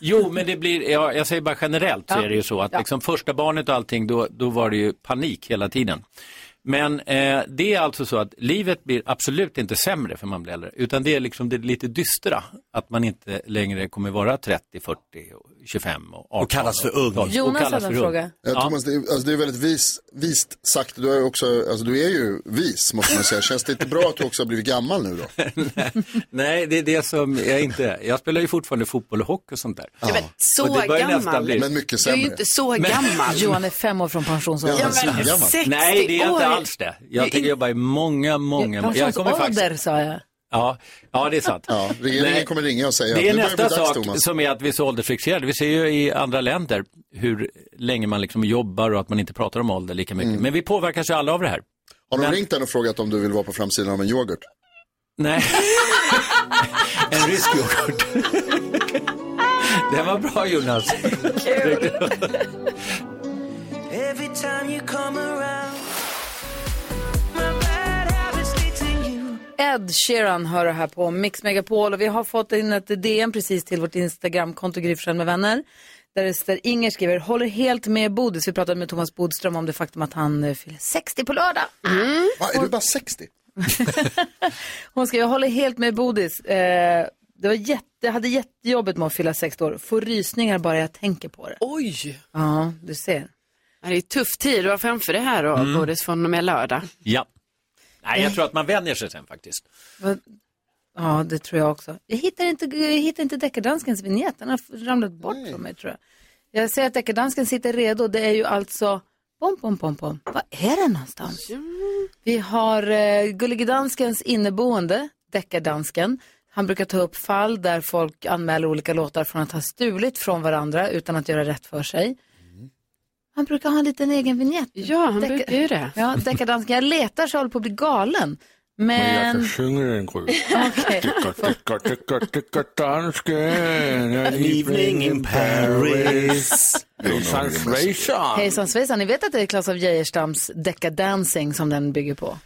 Speaker 18: Jo, men det blir, ja, jag säger bara generellt så
Speaker 4: Ja.
Speaker 18: är det ju så att liksom första barnet och allting, då, då var det ju panik hela tiden. Men eh, det är alltså så att livet blir absolut inte sämre för man blir äldre, utan det är liksom det lite dystra, att man inte längre kommer vara 30, 40, och 25 och 18.
Speaker 9: Och kallas för
Speaker 18: ung.
Speaker 4: Jonas hade en fråga.
Speaker 9: Ja, Thomas, det är, alltså, det är väldigt vis, vist sagt. Du är, också, alltså, du är ju vis, måste man säga. Känns det inte bra att du också har blivit gammal nu då?
Speaker 18: Nej, det är det som jag inte är. Jag spelar ju fortfarande fotboll och hockey och sånt där. Ja.
Speaker 10: men så gammal. Men mycket Du är ju sämre. inte så gammal.
Speaker 4: Johan är fem år från pensionsåldern.
Speaker 18: Nej, det är inte
Speaker 4: 60 år.
Speaker 18: alls det. Jag
Speaker 4: Du är
Speaker 18: tänker jobba i många, många... Jag kommer faktiskt
Speaker 4: Pensionsålder sa jag.
Speaker 18: Ja, ja det är sant. Ja,
Speaker 9: regeringen kommer ringa och säga att
Speaker 18: Det är
Speaker 9: nu börjar det
Speaker 18: nästa
Speaker 9: bli dags,
Speaker 18: sak
Speaker 9: Thomas.
Speaker 18: som är att vi är så åldersfixerade. Vi ser ju i andra länder hur länge man liksom jobbar och att man inte pratar om ålder lika mycket. Men vi påverkas ju alla av det här.
Speaker 9: Mm. Har de ringt den och frågat om du vill vara på framsidan av en yoghurt?
Speaker 18: Nej. en rysk yoghurt. det var bra Jonas.
Speaker 7: Every time you come around, my bad habits lead to you.
Speaker 4: Ed Sheeran hör det här på Mix Megapol och vi har fått in ett DM precis till vårt Instagramkonto Gry Forssell med vänner. Där det står Inger skriver, håller helt med Bodis. Vi pratade med Thomas Bodström om det faktum att han eh, fyller 60 på lördag.
Speaker 9: Va, är du bara 60?
Speaker 4: Hon skriver, jag håller helt med Bodis. Eh, det var jätte, jag hade jättejobbigt med att fylla 60 år. Får rysningar bara jag tänker på det.
Speaker 10: Oj!
Speaker 4: Ja, du ser.
Speaker 10: Det är tuff tid du har framför dig här då,
Speaker 18: Mm.
Speaker 10: Bodis, från och med lördag.
Speaker 18: Ja. Nej, jag tror att man vänjer sig sen faktiskt.
Speaker 4: Vad- Ja, det tror jag också. Jag hittar inte, jag hittar inte deckardanskens vignett. Den har ramlat bort från mig tror jag. Jag ser att deckardansken sitter redo. Det är ju alltså pom, pom, pom, pom. Vad är det någonstans? Vi har eh, Gullige Danskens inneboende, deckardansken. Han brukar ta upp fall där folk anmäler olika låtar från att ha stulit från varandra utan att göra rätt för sig. Han brukar ha en liten egen vignett.
Speaker 10: Ja, han brukar ju det.
Speaker 4: Ja, deckardansken. Jag letar så jag håller på att bli galen.
Speaker 12: Men jag
Speaker 4: Men...
Speaker 12: kan sjunga den Gry.
Speaker 4: Okej.
Speaker 12: Tycker, tycker, tycker, tycker dansken. An
Speaker 6: evening in Paris.
Speaker 12: Hejsan svejsan.
Speaker 4: Hejsan svejsan, ni vet att det är Klas av Geijerstams Dancing som den bygger på?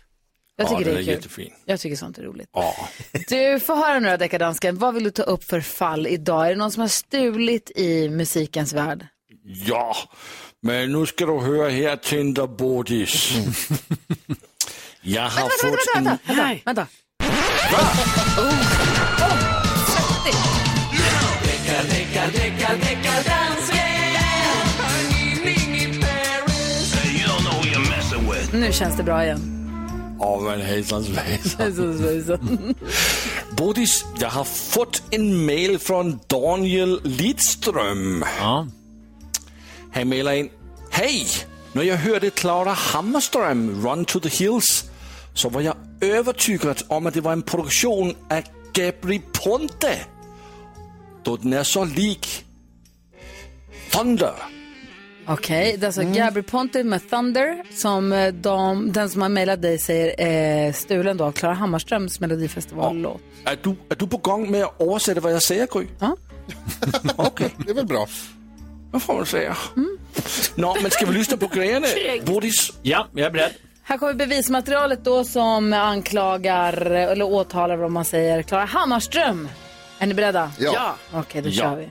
Speaker 4: Jag
Speaker 12: den
Speaker 4: tycker det är,
Speaker 12: är
Speaker 4: kul.
Speaker 12: jättefin.
Speaker 4: Jag tycker sånt är roligt.
Speaker 12: Ja.
Speaker 4: Du får höra nu då, deckardansken, vad vill du ta upp för fall idag? Är det någon som har stulit i musikens värld?
Speaker 12: Ja, men nu ska du höra här Tinderbodis. Jag har fått en...
Speaker 4: Vänta, vänta. Nu känns det bra igen.
Speaker 12: Ja, men hejsan svejsan.
Speaker 4: Hejsan svejsan.
Speaker 12: Bodis, jag har fått en mail från Daniel Lidström. Han mailar in. Hej! När jag hörde Clara Hammarström, Run to the Hills, så var jag övertygad om att det var en produktion av Gabri Ponte. Då den är så lik Thunder.
Speaker 4: Okej, det är alltså
Speaker 7: Mm.
Speaker 4: Gabri Ponte med Thunder som eh, de, den som har mejlat dig säger är stulen då av Klara Hammarströms melodifestivallåt.
Speaker 12: Är du, är du på gång med att översätta vad jag säger, Gry?
Speaker 4: Ja.
Speaker 12: Okej. Det är väl bra. Vad får man säga?
Speaker 4: Mm.
Speaker 12: Nå, men ska vi lyssna på grejerna, Bodis?
Speaker 18: Ja, jag är beredd.
Speaker 4: Här kommer bevismaterialet då som anklagar, eller åtalar vad man säger, Klara Hammarström. Är ni beredda?
Speaker 7: Ja. Ja.
Speaker 4: Okej, då
Speaker 7: Ja.
Speaker 4: kör vi.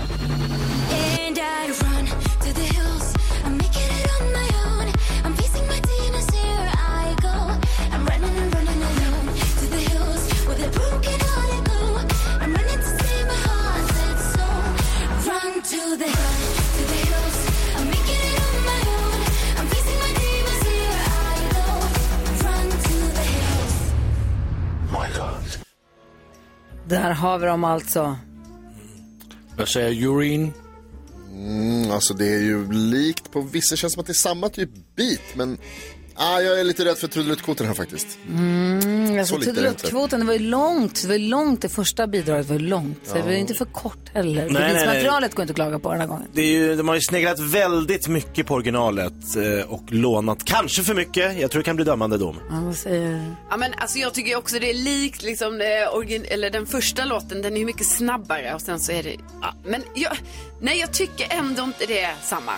Speaker 7: And I run to the hills. I'm making it on my own. I'm facing my demons. Here I go. I'm running and running alone to the hills with a broken heart I go. I'm running to save my heart. That's so. Run to the hill, to the hills. I'm making it on my own. I'm facing my demons. Here I go. Run to the hills.
Speaker 4: Där har vi dem alltså.
Speaker 12: Vad säger Urin?
Speaker 9: Mm, alltså det är ju likt på vissa, känns som att det är samma typ bit, men ah, jag är lite rädd för trudeluttkoten här faktiskt.
Speaker 4: Mm,
Speaker 9: Så
Speaker 4: alltså
Speaker 9: lite är det inte.
Speaker 4: trudeluttkvoten, det var ju långt, det var ju långt, det första bidraget var ju långt. Så
Speaker 6: Ja.
Speaker 4: det var ju inte för kort heller.
Speaker 6: Nej, nej, nej.
Speaker 4: Bevismaterialet går inte att klaga på den här gången.
Speaker 6: Det är ju, de har ju sneglat väldigt mycket på originalet eh, och lånat kanske för mycket. Jag tror det kan bli dömande dom.
Speaker 4: Ja, vad säger
Speaker 10: Ja, men alltså, jag tycker ju också det är likt liksom, eh, origin- eller den första låten, den är ju mycket snabbare och sen så är det... Ja, men jag, nej, jag tycker ändå inte det är samma.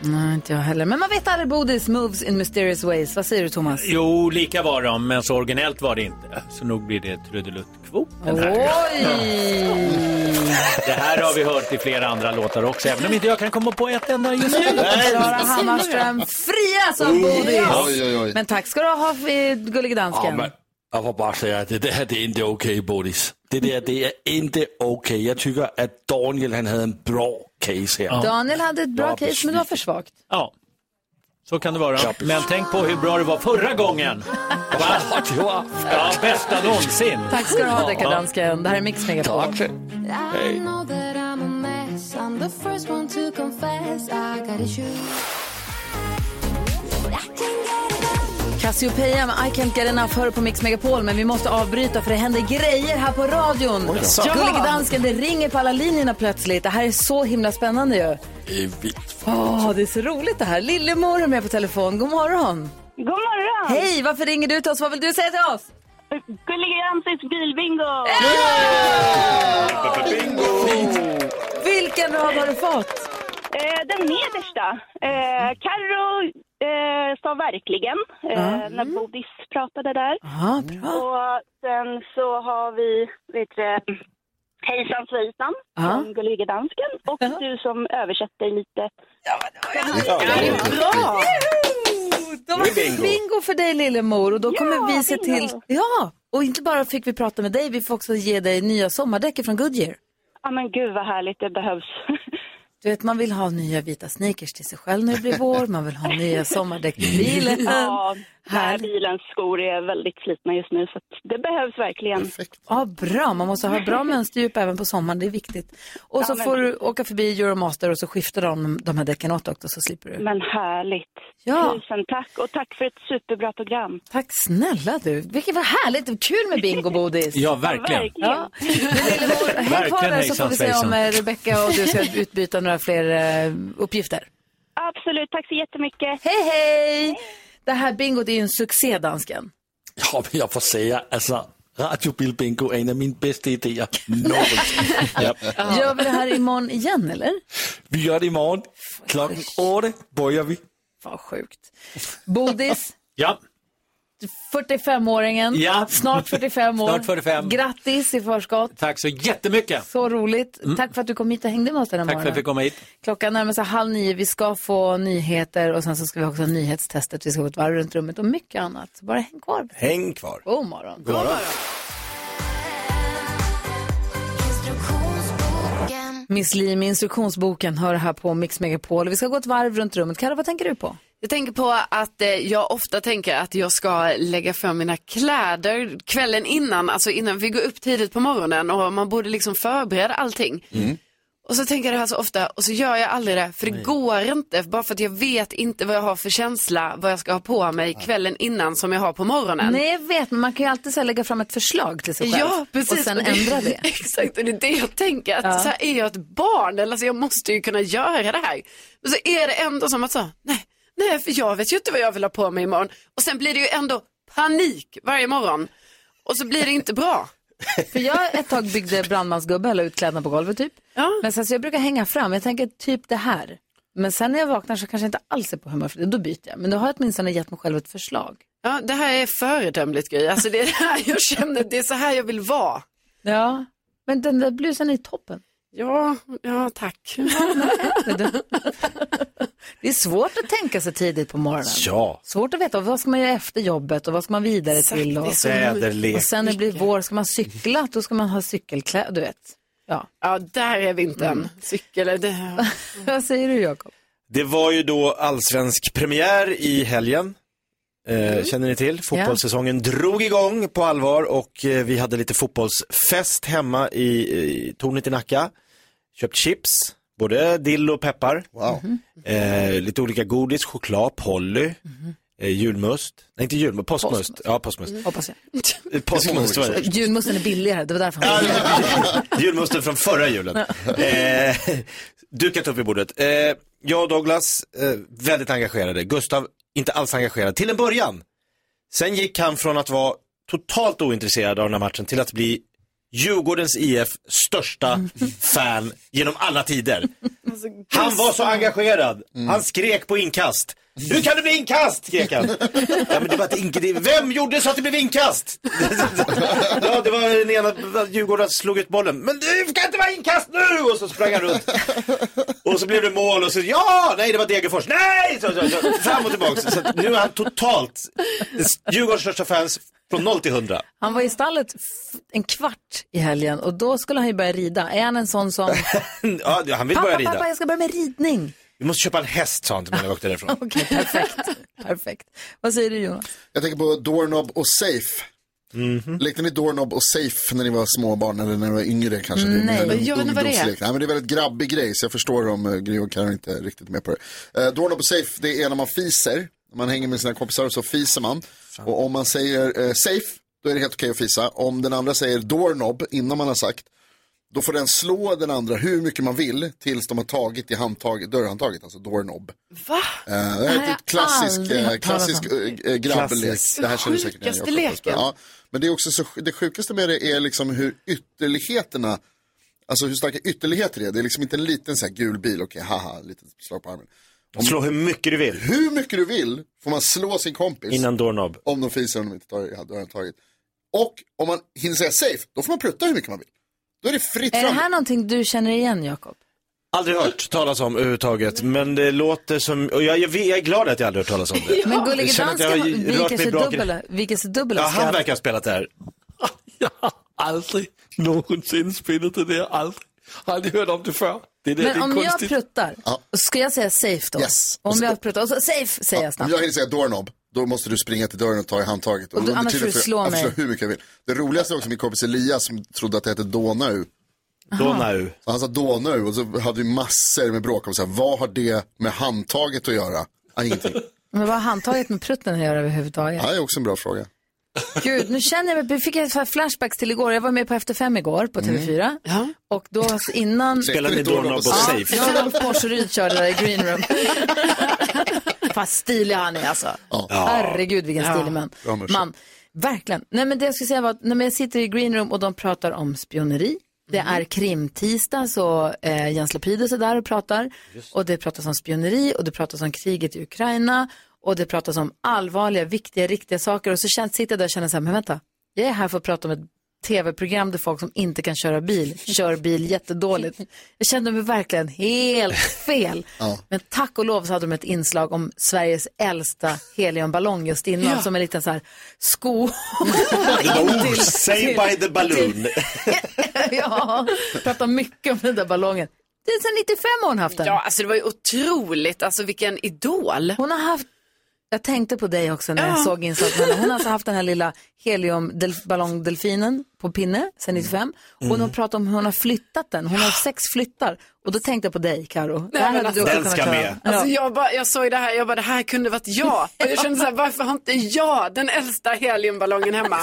Speaker 4: Nej, inte jag heller. Men man vet aldrig Bodis moves in mysterious ways. Vad säger du Thomas?
Speaker 18: Jo, lika var de, men så originellt var det inte. Så nog blir det trudeluttkvoten. här.
Speaker 4: Oj!
Speaker 18: Det här har vi hört i flera andra låtar också, även om inte jag kan komma på ett enda just nu.
Speaker 4: Klara Hammarström frias av Bodis.
Speaker 12: Ja. Oj, oj, oj.
Speaker 4: Men tack ska du ha för
Speaker 12: Ja,
Speaker 4: Gullige Dansken.
Speaker 12: men jag får bara säga att det där det är inte okej, Bodis. Det där det är inte okej. Jag tycker att Daniel han hade en bra case här.
Speaker 4: Daniel hade ett bra
Speaker 12: Ja,
Speaker 4: case, men det var för svagt.
Speaker 18: Ja, så kan det vara. Men tänk på hur bra det var förra gången. Va? Ja, bästa någonsin.
Speaker 4: Tack ska du ha,
Speaker 18: Ja.
Speaker 4: Deckardansken. Det här är Mix Megapol.
Speaker 7: I know that I'm a mess. I'm the first one to confess. I got issues.
Speaker 4: Cassiopeia med I can't get enough hör på Mix Megapol, men vi måste avbryta för det händer grejer här på radion.
Speaker 12: Oj då. Ja!
Speaker 4: Gullige Dansken, det ringer på alla linjerna plötsligt. Det här är så himla spännande ju.
Speaker 12: Det är vitt.
Speaker 4: Åh, det är så roligt det här. Lillemor är med på telefon. God morgon.
Speaker 19: God morgon!
Speaker 4: Hej, varför ringer du till oss? Vad vill du säga till oss?
Speaker 19: Gullige Ramses bilbingo!
Speaker 4: Vilken rad har du fått?
Speaker 19: Eh, den nedersta. Eh, Carro eh, sa verkligen, eh,
Speaker 4: Ja.
Speaker 19: när Bodis pratade där.
Speaker 4: Ja, bra.
Speaker 19: Och sen så har vi, vet du, Hejsan svejsan,
Speaker 4: Ja.
Speaker 19: från Gullige Dansken. Och du som översätter lite.
Speaker 9: Ja, det är
Speaker 4: Bra! De har
Speaker 19: Det är
Speaker 4: fått
Speaker 19: bingo.
Speaker 4: bingo för dig lillemor och då kommer vi se
Speaker 19: bingo.
Speaker 4: till... Ja, och inte bara fick vi prata med dig, vi får också ge dig nya sommardäck från Goodyear.
Speaker 19: Ja men gud vad härligt, det behövs.
Speaker 4: Du vet, man vill ha nya vita sneakers till sig själv när det blir vår, man vill ha nya sommardäck till bilen.
Speaker 19: Ja, den här bilens skor är väldigt slitna just nu så att det behövs verkligen.
Speaker 4: Ja, bra. Man måste ha bra mönsterdjup även på sommaren, det är viktigt. Och
Speaker 19: Ja,
Speaker 4: så
Speaker 19: men-
Speaker 4: får du åka förbi Euromaster och så skiftar de de här däcken åt också, så slipper du.
Speaker 19: Men härligt.
Speaker 4: Ja.
Speaker 19: Tusen tack och tack för ett superbra program.
Speaker 4: Tack snälla du. Vilket var härligt. och Kul med bingo, Bodis.
Speaker 19: Ja, verkligen.
Speaker 4: Ja. Häng kvar
Speaker 18: Verkligen,
Speaker 4: där så får vi se
Speaker 18: hejsan,
Speaker 4: om eh, Rebecca och du ska utbyta några fler eh, uppgifter.
Speaker 19: Absolut, tack så jättemycket.
Speaker 4: Hej, hej! Det här bingot är ju en succé, dansken.
Speaker 12: Ja, men jeg får säga, altså, radiobilbingo er en af mine bedste idéer. ja.
Speaker 4: Gör vi det här imorgon igen, eller?
Speaker 12: Vi gør det i morgen. Klokken 8 bøjer vi.
Speaker 4: Hvor sjukt. Bodis,
Speaker 18: Ja.
Speaker 4: 45-åringen,
Speaker 18: Ja.
Speaker 4: snart 45 år.
Speaker 18: Snart 45.
Speaker 4: Grattis i förskott.
Speaker 18: Tack så jättemycket.
Speaker 4: Så roligt.
Speaker 18: Mm.
Speaker 4: Tack för att du kom hit och hängde med oss den här
Speaker 18: Tack för att
Speaker 4: morgonen.
Speaker 18: jag fick komma hit.
Speaker 4: Klockan närmar sig halv nio. Vi ska få nyheter och sen så ska vi också ha nyhetstestet. Vi ska gå ett varv runt rummet och mycket annat. Så bara häng kvar.
Speaker 6: Häng kvar.
Speaker 4: God morgon.
Speaker 6: God morgon.
Speaker 10: Mm.
Speaker 4: Miss Li med instruktionsboken hör här på Mix Megapol. Vi ska gå ett varv runt rummet. Karo, vad tänker du på?
Speaker 10: Jag tänker på att eh, jag ofta tänker att jag ska lägga för mina kläder kvällen innan, alltså innan vi går upp tidigt på morgonen och man borde liksom förbereda allting. Och så tänker jag det här så ofta och så gör jag aldrig det, för det går inte, bara för att jag vet inte vad jag har för känsla, vad jag ska ha på mig kvällen innan som jag har på morgonen.
Speaker 4: Nej, jag vet, men man kan ju alltid så här lägga fram ett förslag till sig själv.
Speaker 10: Ja, precis.
Speaker 4: Och sen
Speaker 10: Och det-
Speaker 4: ändra det.
Speaker 10: Exakt, och det är det jag tänker. Att
Speaker 4: Ja.
Speaker 10: så här är jag ett barn, eller alltså jag måste ju kunna göra det här. Men så är det ändå som att så, nej, nej, för jag vet ju inte vad jag vill ha på mig imorgon. Och sen blir det ju ändå panik varje morgon. Och så blir det inte bra.
Speaker 4: För jag ett tag byggde brandmansgubbe eller utklädnad på golvet typ. Men sen så jag brukar hänga fram, jag tänker typ det här. Men sen när jag vaknar så kanske jag inte alls är på humör för det, då byter jag. Men då har jag åtminstone gett mig själv ett förslag.
Speaker 10: Ja, det här är föredömligt grej. Alltså det är det här jag känner, det är så här jag vill vara.
Speaker 4: Ja, men den där blusen är toppen.
Speaker 10: Ja, ja tack.
Speaker 4: Det är svårt att tänka sig tidigt på morgonen.
Speaker 6: Ja.
Speaker 4: Svårt att veta vad ska man göra efter jobbet och vad ska man vidare till.
Speaker 6: det är
Speaker 4: Och,
Speaker 6: så Väderlek.
Speaker 4: och sen när det blir vår, ska man cykla, då ska man ha cykelkläder, du vet. Ja,
Speaker 10: ja där är vintern. Cykel, det...
Speaker 4: Mm. vad säger du Jakob?
Speaker 6: Det var ju då allsvensk premiär i helgen. Eh,
Speaker 4: Mm.
Speaker 6: Känner ni till? Fotbollssäsongen drog igång på allvar och eh, vi hade lite fotbollsfest hemma i, i tornet i Nacka. Köpt chips, både dill och peppar.
Speaker 4: Mm-hmm.
Speaker 6: Eh, lite olika godis, choklad, Polly, eh, julmust. Nej, inte julmust, påskmust. Ja, påskmust.
Speaker 4: Mm. Hoppas jag.
Speaker 6: Eh, Påskmust var det.
Speaker 4: Julmusten är billigare, det var därför han
Speaker 6: Julmusten från förra julen. Eh, dukat upp i bordet. Eh, jag och Douglas, eh, väldigt engagerade. Gustav, inte alls engagerad till en början. Sen gick han från att vara totalt ointresserad av den här matchen till att bli Djurgårdens IF största fan genom alla tider. Han var så engagerad. Han skrek på inkast. Hur kan det bli inkast? skrek han. ja, men det var ett ink- det- Vem gjorde så att det blev inkast? ja, det var den ena Djurgården slog ut bollen. Men det kan inte vara inkast nu! Och så sprang han runt. Och så blev det mål och så, ja, nej det var Degerfors, nej! Så, så, så, fram och tillbaka. Så att nu är han totalt Djurgårdens största fans från 0 till 100.
Speaker 4: Han var i stallet f- en kvart i helgen och då skulle han ju börja rida. Är han en sån som,
Speaker 6: Ja, han vill börja
Speaker 4: pappa, pappa,
Speaker 6: rida.
Speaker 4: jag ska börja med ridning.
Speaker 6: Vi måste köpa en häst sa han till mig när vi åkte därifrån.
Speaker 4: Okej, perfekt. perfekt. Vad säger du Jonas?
Speaker 9: Jag tänker på Doorknob och Safe. Lekte ni Doorknob och Safe när ni var småbarn eller när ni var yngre kanske?
Speaker 4: Nej.
Speaker 9: Eller
Speaker 10: Jag vet inte vad det är.
Speaker 9: ungdomslek. Nej, men det är väldigt grabbig grej så jag förstår om eh, Gry och Karin inte är riktigt med på det. Eh, Doorknob och Safe, det är när man fiser. När man hänger med sina kompisar och så fiser man. Och om man säger eh, Safe, då är det helt okej att fisa. Om den andra säger Doorknob innan man har sagt, Då får den slå den andra hur mycket man vill tills de har tagit i handtaget, dörrhandtaget, alltså doorknob.
Speaker 4: Va?
Speaker 9: Eh, det här är ett klassisk,
Speaker 4: aldrig
Speaker 9: eh,
Speaker 4: hört talas
Speaker 9: klassisk
Speaker 4: om.
Speaker 9: eh, eh, grabblek.
Speaker 4: Klassisk.
Speaker 9: Det här känner du säkert igen,
Speaker 4: Sjukaste
Speaker 9: Jakob, också.
Speaker 4: leken.
Speaker 9: Ja, men det, är också så, det sjukaste med det är liksom hur ytterligheterna, alltså hur starka ytterligheter det är. Det är liksom inte en liten så här gul bil, okej haha, lite slag på armen.
Speaker 6: Slå hur mycket du vill.
Speaker 9: Hur mycket du vill får man slå sin kompis.
Speaker 6: Innan doorknob.
Speaker 9: Om de fiser och de inte tar i dörrhandtaget. Och om man hinner säga safe, då får man prutta hur mycket man vill. Då är det fritt
Speaker 4: Är det
Speaker 9: fram.
Speaker 4: här någonting du känner igen, Jakob?
Speaker 6: Aldrig hört talas om överhuvudtaget, men det låter som, och jag, jag, jag är glad att jag aldrig hört talas om det.
Speaker 4: Men
Speaker 6: Jag
Speaker 4: gullige
Speaker 6: känner att jag
Speaker 4: dansken
Speaker 6: har rört
Speaker 4: viker
Speaker 6: mig
Speaker 4: sig
Speaker 6: bra-
Speaker 4: dubbel. Viker sig dubbel.
Speaker 6: Ja,
Speaker 4: av skratt.
Speaker 6: han verkar ha spelat det här.
Speaker 12: Aldrig någonsin spelat det där, aldrig. Har aldrig hört om det förr. Det där det
Speaker 4: Men
Speaker 12: är
Speaker 4: om jag
Speaker 12: konstigt.
Speaker 4: pruttar,
Speaker 9: Ja.
Speaker 4: ska jag säga safe då?
Speaker 9: Yes.
Speaker 4: Om jag pruttar, och så safe säger jag
Speaker 9: Om
Speaker 4: snabbt.
Speaker 9: jag hinner säga doorknob, då måste du springa till dörren och ta i handtaget.
Speaker 4: Och då-
Speaker 9: under
Speaker 4: annars
Speaker 9: tiden
Speaker 4: får du slå
Speaker 9: jag får
Speaker 4: mig.
Speaker 9: hur mycket jag vill. Det roligaste är också min kompis Elias som trodde att det hette Donau.
Speaker 4: Aha. Donau.
Speaker 9: Så han sa Donau och så hade vi massor med bråk om så här, vad har det med handtaget att göra? Ah, ingenting.
Speaker 4: Men vad har handtaget med prutten att göra överhuvudtaget?
Speaker 9: Ja, det är också en bra fråga.
Speaker 4: Gud, nu känner jag mig, fick jag så här flashbacks till igår. Jag var med på Efter fem igår på
Speaker 9: Mm.
Speaker 4: TV4. Och då alltså innan...
Speaker 6: Spelade ni Doorknob och Safe?
Speaker 4: Ja, Rolf Porseryd körde där i Green Room. Fan stilig han är alltså.
Speaker 6: Ja.
Speaker 4: Herregud vilken
Speaker 6: Ja.
Speaker 4: stilig man.
Speaker 6: Bra morsa.
Speaker 4: man. Verkligen. Nej men det jag skulle säga var att när jag sitter i Green Room och de pratar om spioneri. Det är krimtisdag så eh, Jens Lapidus är där och pratar. Och det pratas om spioneri och det pratas om kriget i Ukraina. Och det pratas om allvarliga, viktiga, riktiga saker. Och så känns, sitter jag där och känner så här, men vänta. Jag är här för att prata om ett tv-program där folk som inte kan köra bil kör bil jättedåligt. Jag kände mig verkligen helt fel.
Speaker 9: Ja.
Speaker 4: Men tack och lov så hade de ett inslag om Sveriges äldsta heliumballong just innan
Speaker 6: Ja.
Speaker 4: som en liten så här sko.
Speaker 6: Oh, say by the balloon.
Speaker 4: ja, pratar mycket om den där ballongen. Det är sedan 95 har hon haft den.
Speaker 10: Ja, alltså det var ju otroligt. Alltså vilken idol.
Speaker 4: Hon har haft, jag tänkte på dig också när jag
Speaker 10: Ja.
Speaker 4: såg inslaget. med henne. Hon har alltså haft den här lilla heliumballongdelfinen på pinne sedan 95. Och hon
Speaker 6: Mm.
Speaker 4: har pratat om hur hon har flyttat den. Hon har sex flyttar. Och då tänkte jag på dig, Karo. Det här
Speaker 10: men
Speaker 4: hade
Speaker 10: alltså-
Speaker 4: du också
Speaker 6: Den
Speaker 4: kunnat
Speaker 6: ska
Speaker 4: göra.
Speaker 6: med.
Speaker 4: Ja.
Speaker 10: Alltså jag, bara, jag såg det här, jag bara det här kunde varit jag. Och jag kände så här, varför har inte jag den äldsta heliumballongen hemma?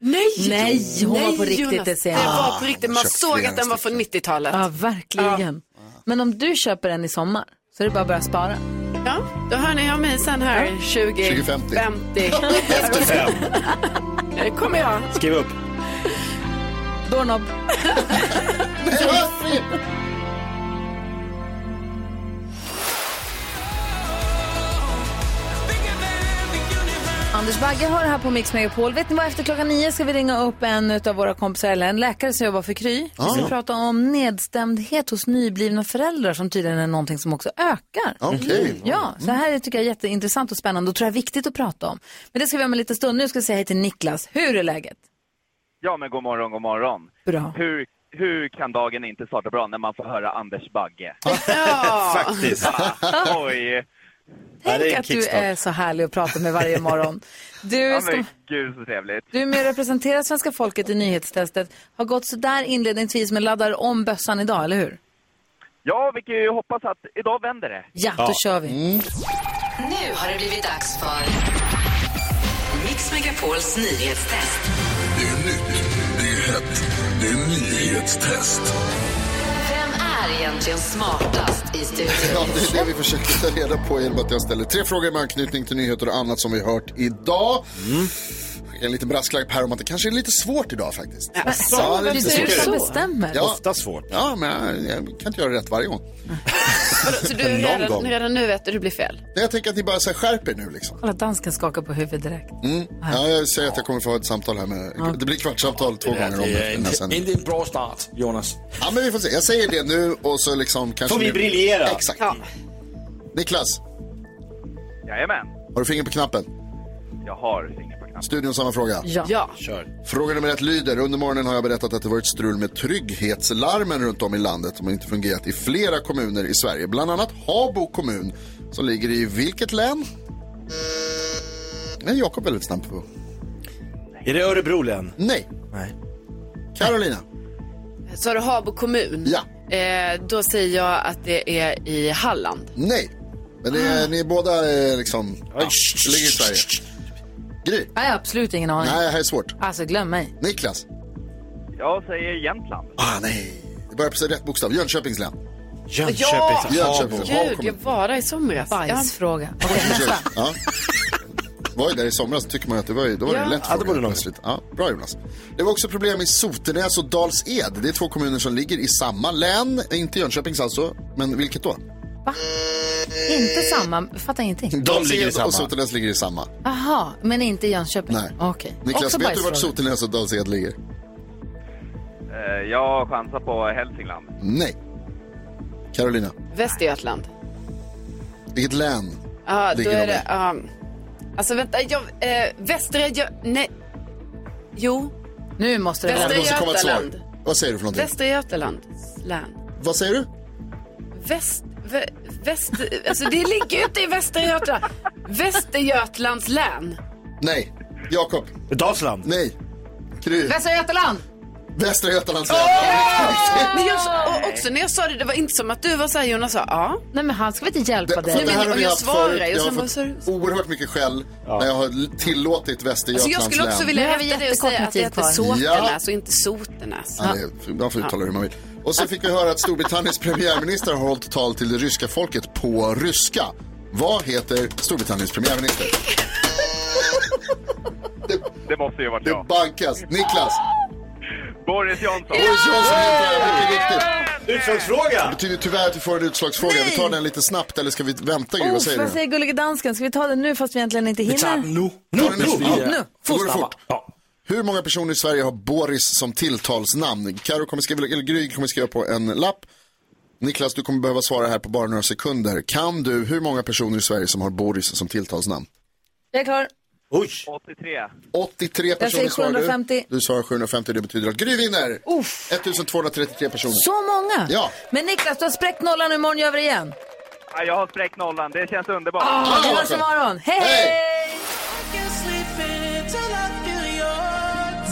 Speaker 10: Nej!
Speaker 4: Nej, hon Alltså, var på riktigt,
Speaker 10: Jonas.
Speaker 4: det ser jag.
Speaker 10: Det var
Speaker 4: Ah,
Speaker 10: på riktigt,
Speaker 4: hon
Speaker 10: man
Speaker 4: köpte
Speaker 10: såg
Speaker 4: flera
Speaker 10: att den var från 90-talet.
Speaker 4: Ja, verkligen. Men om du köper en i sommar så är det bara att börja spara.
Speaker 10: Ja, då hör ni av mig sen här 20...
Speaker 4: 2050.
Speaker 10: 50.
Speaker 4: Efter
Speaker 6: fem.
Speaker 10: Här kommer jag.
Speaker 6: Skriv upp.
Speaker 4: Doorknob. Anders Bagge har det här på Mix Megapol. Vet ni vad, efter klockan nio ska vi ringa upp en av våra kompisar, eller en läkare som jobbar för Kry. Vi ska
Speaker 10: Ah.
Speaker 4: prata om nedstämdhet hos nyblivna föräldrar som tydligen är någonting som också ökar. Mm.
Speaker 9: Okej.
Speaker 4: Ja, så det här tycker jag är jätteintressant och spännande och tror jag är viktigt att prata om. Men det ska vi ha med lite stund. Nu ska jag säga hej till Niklas. Hur är läget?
Speaker 20: Ja, men god morgon, god morgon.
Speaker 4: Bra.
Speaker 20: Hur, hur kan dagen inte starta bra när man får höra Anders Bagge?
Speaker 6: Faktiskt.
Speaker 20: Oj.
Speaker 4: Tänk att du är så härlig att prata med varje morgon. Du,
Speaker 20: Ja,
Speaker 4: ska...
Speaker 20: men gud så trevligt.
Speaker 4: du är med och representerar svenska folket i nyhetstestet. Har gått sådär inledningsvis men laddar om bössan idag, eller hur?
Speaker 20: Ja, vi kan ju hoppas att idag vänder det.
Speaker 4: Ja, då kör vi.
Speaker 9: Mm.
Speaker 11: Nu har det blivit dags för Mix Megapols nyhetstest.
Speaker 21: Det är nytt, det är hett, det är nyhetstest.
Speaker 11: Vem är egentligen smartast i
Speaker 9: Ja,
Speaker 11: studion?
Speaker 9: det är det vi försöker ta reda på genom att jag ställer tre frågor med anknytning till nyheter och annat som vi hört idag. Mm. En liten brasklapp här om att det kanske är lite svårt idag faktiskt.
Speaker 4: Jaså,
Speaker 9: Ja,
Speaker 4: det är
Speaker 9: lite
Speaker 4: du
Speaker 9: svårt.
Speaker 4: som bestämmer.
Speaker 6: Ofta svårt.
Speaker 9: Ja, men jag, jag kan inte göra rätt varje gång.
Speaker 10: Så du
Speaker 9: Någon
Speaker 10: redan,
Speaker 9: gång.
Speaker 10: redan nu vet du, det blir fel.
Speaker 9: Nej, Jag tänker att ni bara så här, skärper er nu liksom.
Speaker 4: Kolla, dansken skakar på huvudet direkt.
Speaker 9: Mm. Ja, jag säger att jag kommer få ha ett samtal här med... Det blir kvartssamtal två
Speaker 12: Det
Speaker 9: gånger om
Speaker 12: är
Speaker 9: den här
Speaker 12: inte,
Speaker 9: sändningen.
Speaker 12: inte en bra start, Jonas.
Speaker 9: Ja, men vi får se. Jag säger det nu och så liksom kanske...
Speaker 12: Får vi
Speaker 9: ni-
Speaker 12: briljera?
Speaker 9: Exakt. Niklas,
Speaker 20: Jajamän,
Speaker 9: har du finger på knappen?
Speaker 20: jag har fingret på knappen.
Speaker 9: Studion samma fråga.
Speaker 4: Ja.
Speaker 20: Kör.
Speaker 9: Fråga nummer ett lyder. Under morgonen har jag berättat att det varit strul med trygghetslarmen runt om i landet som inte fungerat i flera kommuner i Sverige. Bland annat Habo kommun som ligger i vilket län? Nej, Jakob är väldigt snabb på.
Speaker 6: Är det Örebro län?
Speaker 9: Nej.
Speaker 6: Nej.
Speaker 9: Carolina.
Speaker 10: Så har du Habo kommun?
Speaker 9: Ja.
Speaker 10: Eh, då säger jag att det är i Halland.
Speaker 9: Nej. Men det
Speaker 6: Ah.
Speaker 9: är, ni är båda eh, liksom... Ja, det ligger i Sverige. Gry.
Speaker 4: Nej, absolut ingen aning.
Speaker 9: Nej, det här är svårt.
Speaker 4: Alltså, glöm mig.
Speaker 9: Niklas.
Speaker 20: Jag säger Jämtland.
Speaker 9: Ah, nej. Det börjar på rätt bokstav. Jönköpings län.
Speaker 6: Jönköpings
Speaker 10: Ja!
Speaker 9: Jönköpings län. Ja,
Speaker 10: Gud, jag var där i somras.
Speaker 4: Bajsfråga.
Speaker 9: Ja. Var ju där i somras, tycker man att det var ju, då var det
Speaker 10: Ja.
Speaker 9: en lätt
Speaker 10: Ja,
Speaker 9: fråga. plötsligt. Ja, bra Jonas. Det var också problem i Sotenäs och Dals-Ed. Det är två kommuner som ligger i samma län, inte Jönköpings alltså, men vilket då?
Speaker 4: Inte samma, fattar ingenting.
Speaker 9: Dals-Ed och Sotenäs ligger i samma.
Speaker 4: Aha, men inte Jönköping?
Speaker 9: Nej.
Speaker 4: Okej.
Speaker 9: Niklas,
Speaker 4: Också
Speaker 9: vet du vart
Speaker 4: bajsfråga.
Speaker 9: Sotenäs och Dals-Ed ligger?
Speaker 20: Eh, Jag chansar på Hälsingland.
Speaker 9: Nej. Carolina,
Speaker 10: Västergötland.
Speaker 9: vilket län?
Speaker 10: Ja, då
Speaker 9: Ligger
Speaker 10: är
Speaker 9: de i?
Speaker 10: det... ja. alltså vänta, jag, eh, Västra Gö... Nej. Jo.
Speaker 4: Nu måste
Speaker 9: Ja, det måste komma ett svar.
Speaker 10: Västergötland.
Speaker 9: Vad säger du för någonting?
Speaker 10: Västra Götalands län.
Speaker 9: Vad säger du?
Speaker 10: Väst... Vä, väst alltså det ligger ju inte i Västra Götaland. Västergötlands län.
Speaker 9: Nej. Jakob?
Speaker 6: Dalsland?
Speaker 9: Nej. Kry.
Speaker 4: Västra Götaland!
Speaker 9: Västra Götalands län.
Speaker 10: Men
Speaker 9: Ah.
Speaker 10: jag, och också när jag sa det, det var inte som att du var så här Jonas sa "Ah." ja.
Speaker 4: Nej men han ska väl inte hjälpa
Speaker 9: För det
Speaker 10: Nej,
Speaker 9: här
Speaker 10: men
Speaker 9: har
Speaker 10: om
Speaker 9: vi
Speaker 10: jag
Speaker 9: haft
Speaker 10: svarar
Speaker 9: förut.
Speaker 10: och
Speaker 9: Jag har
Speaker 10: sen bara
Speaker 9: fått
Speaker 10: så är det-
Speaker 9: oerhört mycket skäll när jag har tillåtit
Speaker 10: Alltså jag
Speaker 9: Västergötlands
Speaker 10: skulle också
Speaker 9: län.
Speaker 10: vilja
Speaker 4: Nu har vi
Speaker 10: rätta dig och
Speaker 4: jättekort
Speaker 10: säga
Speaker 4: med
Speaker 10: att det
Speaker 4: tid
Speaker 10: heter
Speaker 4: kvar.
Speaker 10: Såtenäs och inte Sotenäs.
Speaker 9: Ja, det är- man får uttala det hur man vill. Och sen fick vi höra att Storbritanniens premiärminister har hållit tal till det ryska folket på ryska. Vad heter Storbritanniens premiärminister?
Speaker 20: Det måste ju varit jag.
Speaker 9: Bankas. Niklas.
Speaker 20: Boris Johnson.
Speaker 9: Boris Johnson heter det, mycket riktigt. Det
Speaker 6: Utslagsfråga!
Speaker 9: betyder tyvärr att vi får en utslagsfråga. Vi tar den lite snabbt eller ska vi vänta Gry?
Speaker 4: Oh,
Speaker 9: Vad säger
Speaker 4: vad
Speaker 9: du?
Speaker 4: säger gullige dansken? Ska vi ta den nu fast vi egentligen inte hinner?
Speaker 9: nu.
Speaker 4: Nu,
Speaker 9: Ta den
Speaker 4: nu,
Speaker 9: vi-
Speaker 4: nu.
Speaker 9: Då går det
Speaker 4: Fort.
Speaker 9: fort. Hur många personer i Sverige har Boris som tilltalsnamn? Karo kommer skriva, eller Gry kommer skriva på en lapp. Niklas, du kommer behöva svara här på bara några sekunder. Kan du hur många personer i Sverige som har Boris som tilltalsnamn?
Speaker 4: Jag är klar.
Speaker 9: Oj!
Speaker 20: 83.
Speaker 9: 83
Speaker 4: Jag säger
Speaker 9: personer svarar du.
Speaker 4: 750.
Speaker 9: Du svarar 750, det betyder att Gry vinner. 1233 personer.
Speaker 4: Så många?
Speaker 9: Ja.
Speaker 4: Men Niklas, du har spräckt nollan. Imorgon gör vi det igen.
Speaker 20: Ja, Jag har spräckt nollan, det känns underbart.
Speaker 4: Ah, vi hörs imorgon. Hej, hej!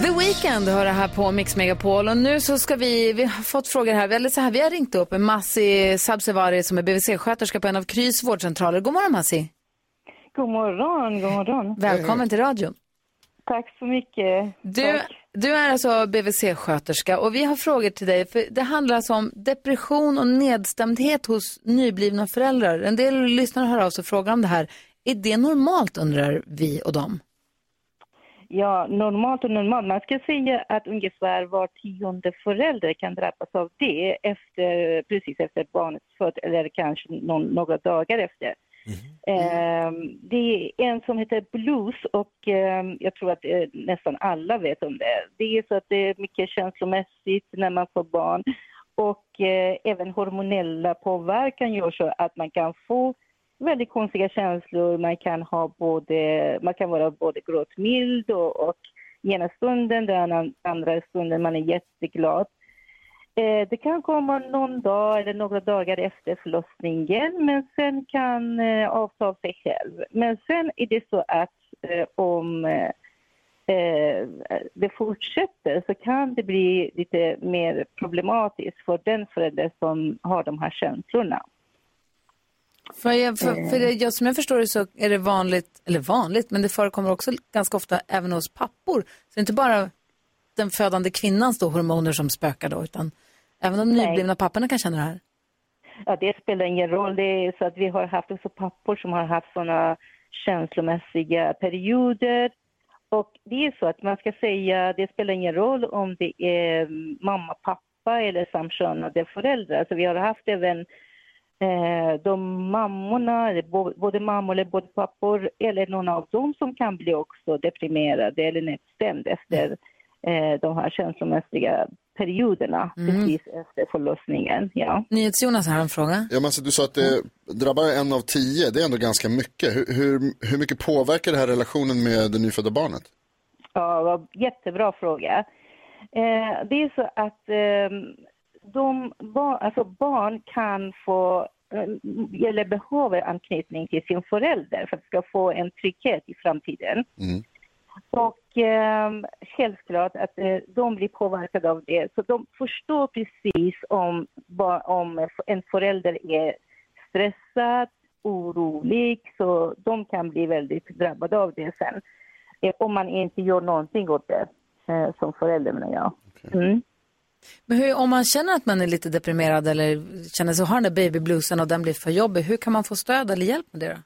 Speaker 4: The Weeknd hör det här på Mix Megapol och nu så ska vi, vi har fått frågor här, eller så här, vi har ringt upp en Massi Sabsevari som är BVC-sköterska på en av Krys vårdcentraler. God morgon Massi,
Speaker 3: God morgon, god morgon.
Speaker 4: välkommen till radion.
Speaker 3: Tack så mycket.
Speaker 4: Du, du är alltså BVC-sköterska och vi har frågor till dig. För det handlar alltså om depression och nedstämdhet hos nyblivna föräldrar. En del lyssnare hör av sig och frågar om det här. Är det normalt undrar vi och dem?
Speaker 3: Ja, normalt och normalt. Man ska säga att ungefär var tionde förälder kan drabbas av det efter, precis efter barnets född eller kanske någon, några dagar efter. Ehm, det är en som heter blues och ehm, jag tror att eh, nästan alla vet om det. Det är så att det är mycket känslomässigt när man får barn och eh, även hormonella påverkan gör så att man kan få väldigt konstiga känslor. Man kan, ha både, man kan vara både gråtmild och, och ena stunden, den an- andra stunden man är jätteglad. Eh, det kan komma någon dag eller några dagar efter förlossningen men sen kan eh, avta av sig själv. Men sen är det så att eh, om eh, eh, det fortsätter så kan det bli lite mer problematiskt för den förälder som har de här känslorna.
Speaker 4: För, jag,
Speaker 3: Eh.
Speaker 4: för, för det, jag, som jag förstår det så är det vanligt, eller vanligt, men det förekommer också ganska ofta även hos pappor. Så det är inte bara den födande kvinnans då, hormoner som spökar då, utan även de
Speaker 3: Nej.
Speaker 4: nyblivna papporna kan känna det här.
Speaker 3: Ja, det spelar ingen roll. Det är så att vi har haft också pappor som har haft sådana känslomässiga perioder. Och det är så att man ska säga, det spelar ingen roll om det är mamma, pappa eller samkönade föräldrar. Så vi har haft även eh, de mammorna, eller bo- både mammor eller både pappor, eller någon av dem som kan bli också deprimerade eller nedstämd efter eh, de här känslomässiga perioderna precis efter förlossningen. Ja.
Speaker 4: NyhetsJonas har en fråga.
Speaker 9: Ja, men alltså, du sa att det drabbar en av tio, det är ändå ganska mycket. Hur, hur, hur mycket påverkar det här relationen med det nyfödda barnet?
Speaker 3: Ja, vad- jättebra fråga. Eh, det är så att ehm, de barn, alltså barn kan få eh, eller behöver anknytning till sin förälder för att ska få en trygghet i framtiden. Och ehm, självklart att eh, de blir påverkade av det. Så de förstår precis om, ba- om en förälder är stressad, orolig, så de kan bli väldigt drabbade av det sen. Eh, om man inte gör någonting åt det eh, som förälder menar jag. Mm.
Speaker 4: Men hur, om man känner att man är lite deprimerad eller känner sig ha den där babybluesen och den blir för jobbig, hur kan man få stöd eller hjälp med det då?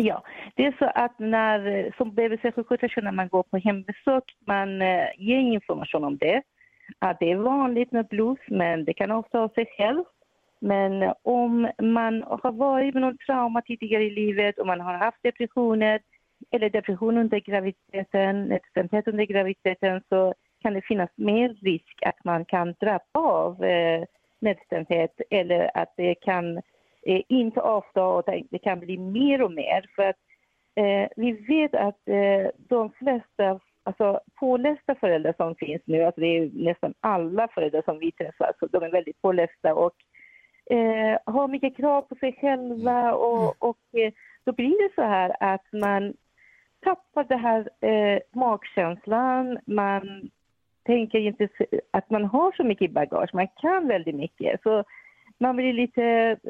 Speaker 3: Ja, det är så att när, eh, som BVC-sjuksköterska när man går på hembesök, man eh, ger information om det. Att det är vanligt med blues, men det kan ofta av sig själv. Men eh, om man har varit med någon trauma tidigare i livet, om man har haft depressioner eller depression under graviditeten, nedstämdhet under graviditeten, så kan det finnas mer risk att man kan drabba av eh, nedstämdhet eller att det kan eh, inte avta och det- det kan bli mer och mer. För att eh, vi vet att eh, de flesta alltså, pålästa föräldrar som finns nu, alltså det är nästan alla föräldrar som vi träffar, så de är väldigt pålästa och eh, har mycket krav på sig själva och, och eh, då blir det så här att man tappar den här eh, magkänslan, man tänker inte s- att man har så mycket i bagage, man kan väldigt mycket. Så man blir lite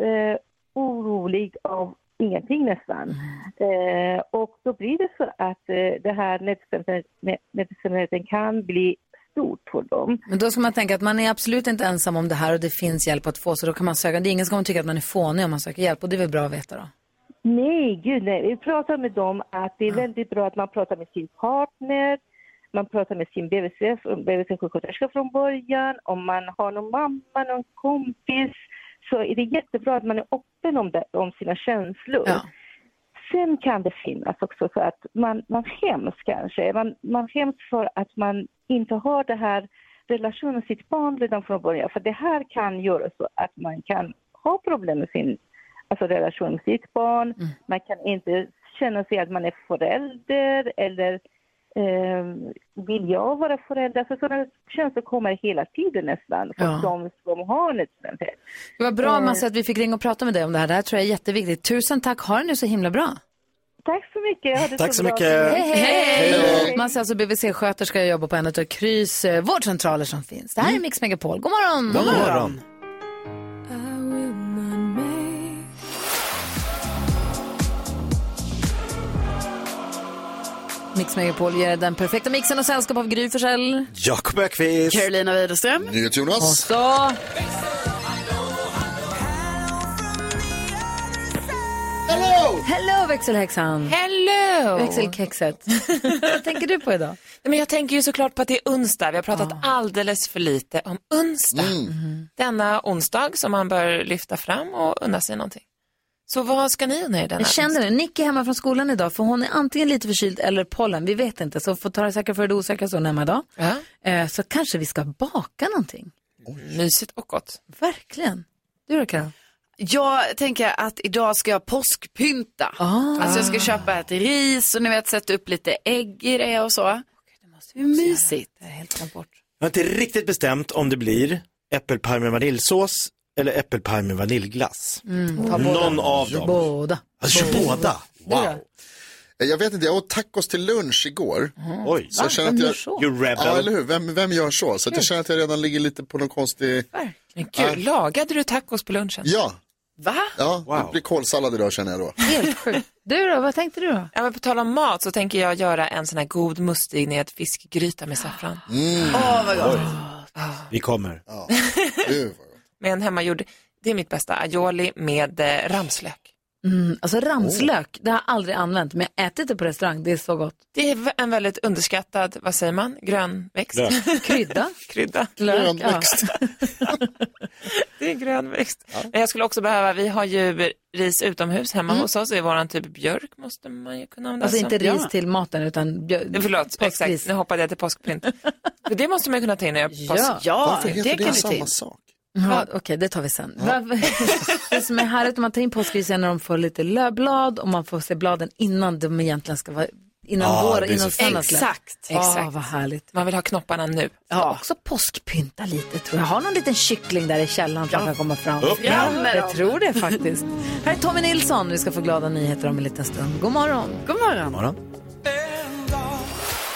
Speaker 3: eh, orolig av ingenting nästan. Eh, och då blir det så att eh, det här nedstämdheten- ned- nedstämdheten kan bli stort för dem.
Speaker 4: Men då ska man tänka att man är absolut inte ensam om det här och det finns hjälp att få, så då kan man söka. Det är ingen som kommer tycka att man är fånig om man söker hjälp och det är väl bra att veta då?
Speaker 3: Nej, gud nej. Vi pratar med dem att det är väldigt bra att man pratar med sin partner, man pratar med sin BVC, från- BVC-sjuksköterska från början, om man har någon mamma, någon kompis, så är det jättebra att man är öppen om, det, om sina känslor. Sen kan det finnas också så att man, man skäms kanske. Man, man skäms för att man inte har det här relationen med sitt barn redan från början. För det här kan göra så att man kan ha problem med sin alltså relation med sitt barn. Man kan inte känna sig att man är förälder eller eh, vill jag vara förälder? Så sådana känslor kommer hela tiden nästan för
Speaker 4: Ja.
Speaker 3: de som har nedstämdhet.
Speaker 4: Det var bra
Speaker 3: Eh.
Speaker 4: Massa att vi fick ringa och prata med dig om det här. Det här tror jag är jätteviktigt. Tusen tack, ha det nu så himla bra.
Speaker 3: Tack så mycket. Ha det
Speaker 4: Tack så
Speaker 3: bra.
Speaker 4: mycket. Hej, hej.
Speaker 3: Hej då.
Speaker 4: Man ser alltså BVC-sköterska jag jobbar på en av Krys eh, vårdcentraler som finns. Det här är Mix Megapol. Mm. God morgon!
Speaker 7: God morgon.
Speaker 4: Mix Megapol ger den perfekta mixen och sällskap av Gry Forssell.
Speaker 6: Jakob Ökvist.
Speaker 10: Carolina Widerström.
Speaker 9: Jonas.
Speaker 4: Och så...
Speaker 9: Hello!
Speaker 4: Hello växelhäxan! Oh.
Speaker 2: Hello!
Speaker 4: Växelkexet. Vad tänker du på idag?
Speaker 2: Nej, Men jag tänker ju såklart på att det är onsdag. Vi har pratat alldeles för lite om onsdag.
Speaker 4: Mm-hmm.
Speaker 2: Denna onsdag som man bör lyfta fram och unna sig någonting. Så vad ska ni unna er denna
Speaker 4: Jag känner det. Nicky är hemma från skolan idag för hon är antingen lite förkyld eller pollen. Vi vet inte. Så får ta det säkra för det osäkra så hon är hemma idag. Eh, Så kanske vi ska baka någonting.
Speaker 2: Mysigt och gott.
Speaker 4: Verkligen. Du då Karin?
Speaker 10: Jag tänker att idag ska jag påskpynta.
Speaker 4: Ah.
Speaker 10: Alltså jag ska köpa ett ris och ni vet sätta upp lite ägg i det och så. Hur mysigt.
Speaker 6: Jag har inte riktigt bestämt om det blir äppelpaj med vaniljsås eller äppelpaj med vaniljglass.
Speaker 4: Mm, ta båda.
Speaker 6: Någon av dem.
Speaker 4: Båda.
Speaker 6: Alltså, kör båda.
Speaker 9: Wow. Eh, Jag vet inte, jag åt tacos till lunch igår.
Speaker 6: Oj.
Speaker 9: så
Speaker 6: Va?
Speaker 9: jag känner
Speaker 6: Vem
Speaker 9: att
Speaker 6: gör
Speaker 9: jag...
Speaker 6: så? You rebel.
Speaker 9: Ja, eller hur? Vem, vem gör så? Så att jag känner att jag redan ligger lite på någon konstig...
Speaker 2: Men gud, lagade du tacos på lunchen?
Speaker 9: Ja,
Speaker 2: Va?
Speaker 9: ja det blir kålsallad idag känner jag då.
Speaker 4: Helt sjukt. Du då, vad tänkte du då?
Speaker 2: Ja, men på tal om mat så tänker jag göra en sån här god mustig ned fiskgryta med saffran.
Speaker 9: Mm.
Speaker 2: Åh, vad gott.
Speaker 6: Vi kommer.
Speaker 2: Med en hemmagjord, det är mitt bästa, aioli med eh, ramslök.
Speaker 4: Mm, alltså ramslök, det har jag aldrig använt men jag har ätit det på restaurang. Det är så gott.
Speaker 2: Det är v- en väldigt underskattad, vad säger man, grönväxt?
Speaker 4: Lök. Krydda.
Speaker 2: Krydda.
Speaker 4: Lök, Grönväxt.
Speaker 2: det är grönväxt. Men jag skulle också behöva, vi har ju ris utomhus hemma
Speaker 4: Mm.
Speaker 2: hos oss, är våran typ björk måste man ju kunna använda.
Speaker 4: Alltså
Speaker 2: som-
Speaker 4: inte ris
Speaker 2: Ja.
Speaker 4: till maten utan bjö-
Speaker 2: Eh, Förlåt, exakt, nu hoppade jag till påskpynt. För det måste man ju kunna ta in när jag
Speaker 4: Ja. Varför heter det samma
Speaker 9: sak?
Speaker 4: Ja, Okej, det tar vi sen. Vad- det som är härligt om man tar in påskris är när de får lite lövblad och man får se bladen innan de egentligen ska vara, innan
Speaker 2: Ah,
Speaker 4: vår,
Speaker 2: det är så
Speaker 4: innan snön har
Speaker 2: fint.
Speaker 4: släppt.
Speaker 2: Exakt,
Speaker 4: Ah,
Speaker 2: exakt.
Speaker 4: vad härligt.
Speaker 2: Man vill ha knopparna nu.
Speaker 4: Ja. Också påskpynta lite tror jag. Har någon liten kyckling där i källaren som kan komma fram?
Speaker 2: Upp med dem.
Speaker 4: jag tror det faktiskt. Här är Tommy Nilsson. Vi ska få glada nyheter om en liten stund. God morgon.
Speaker 10: God morgon.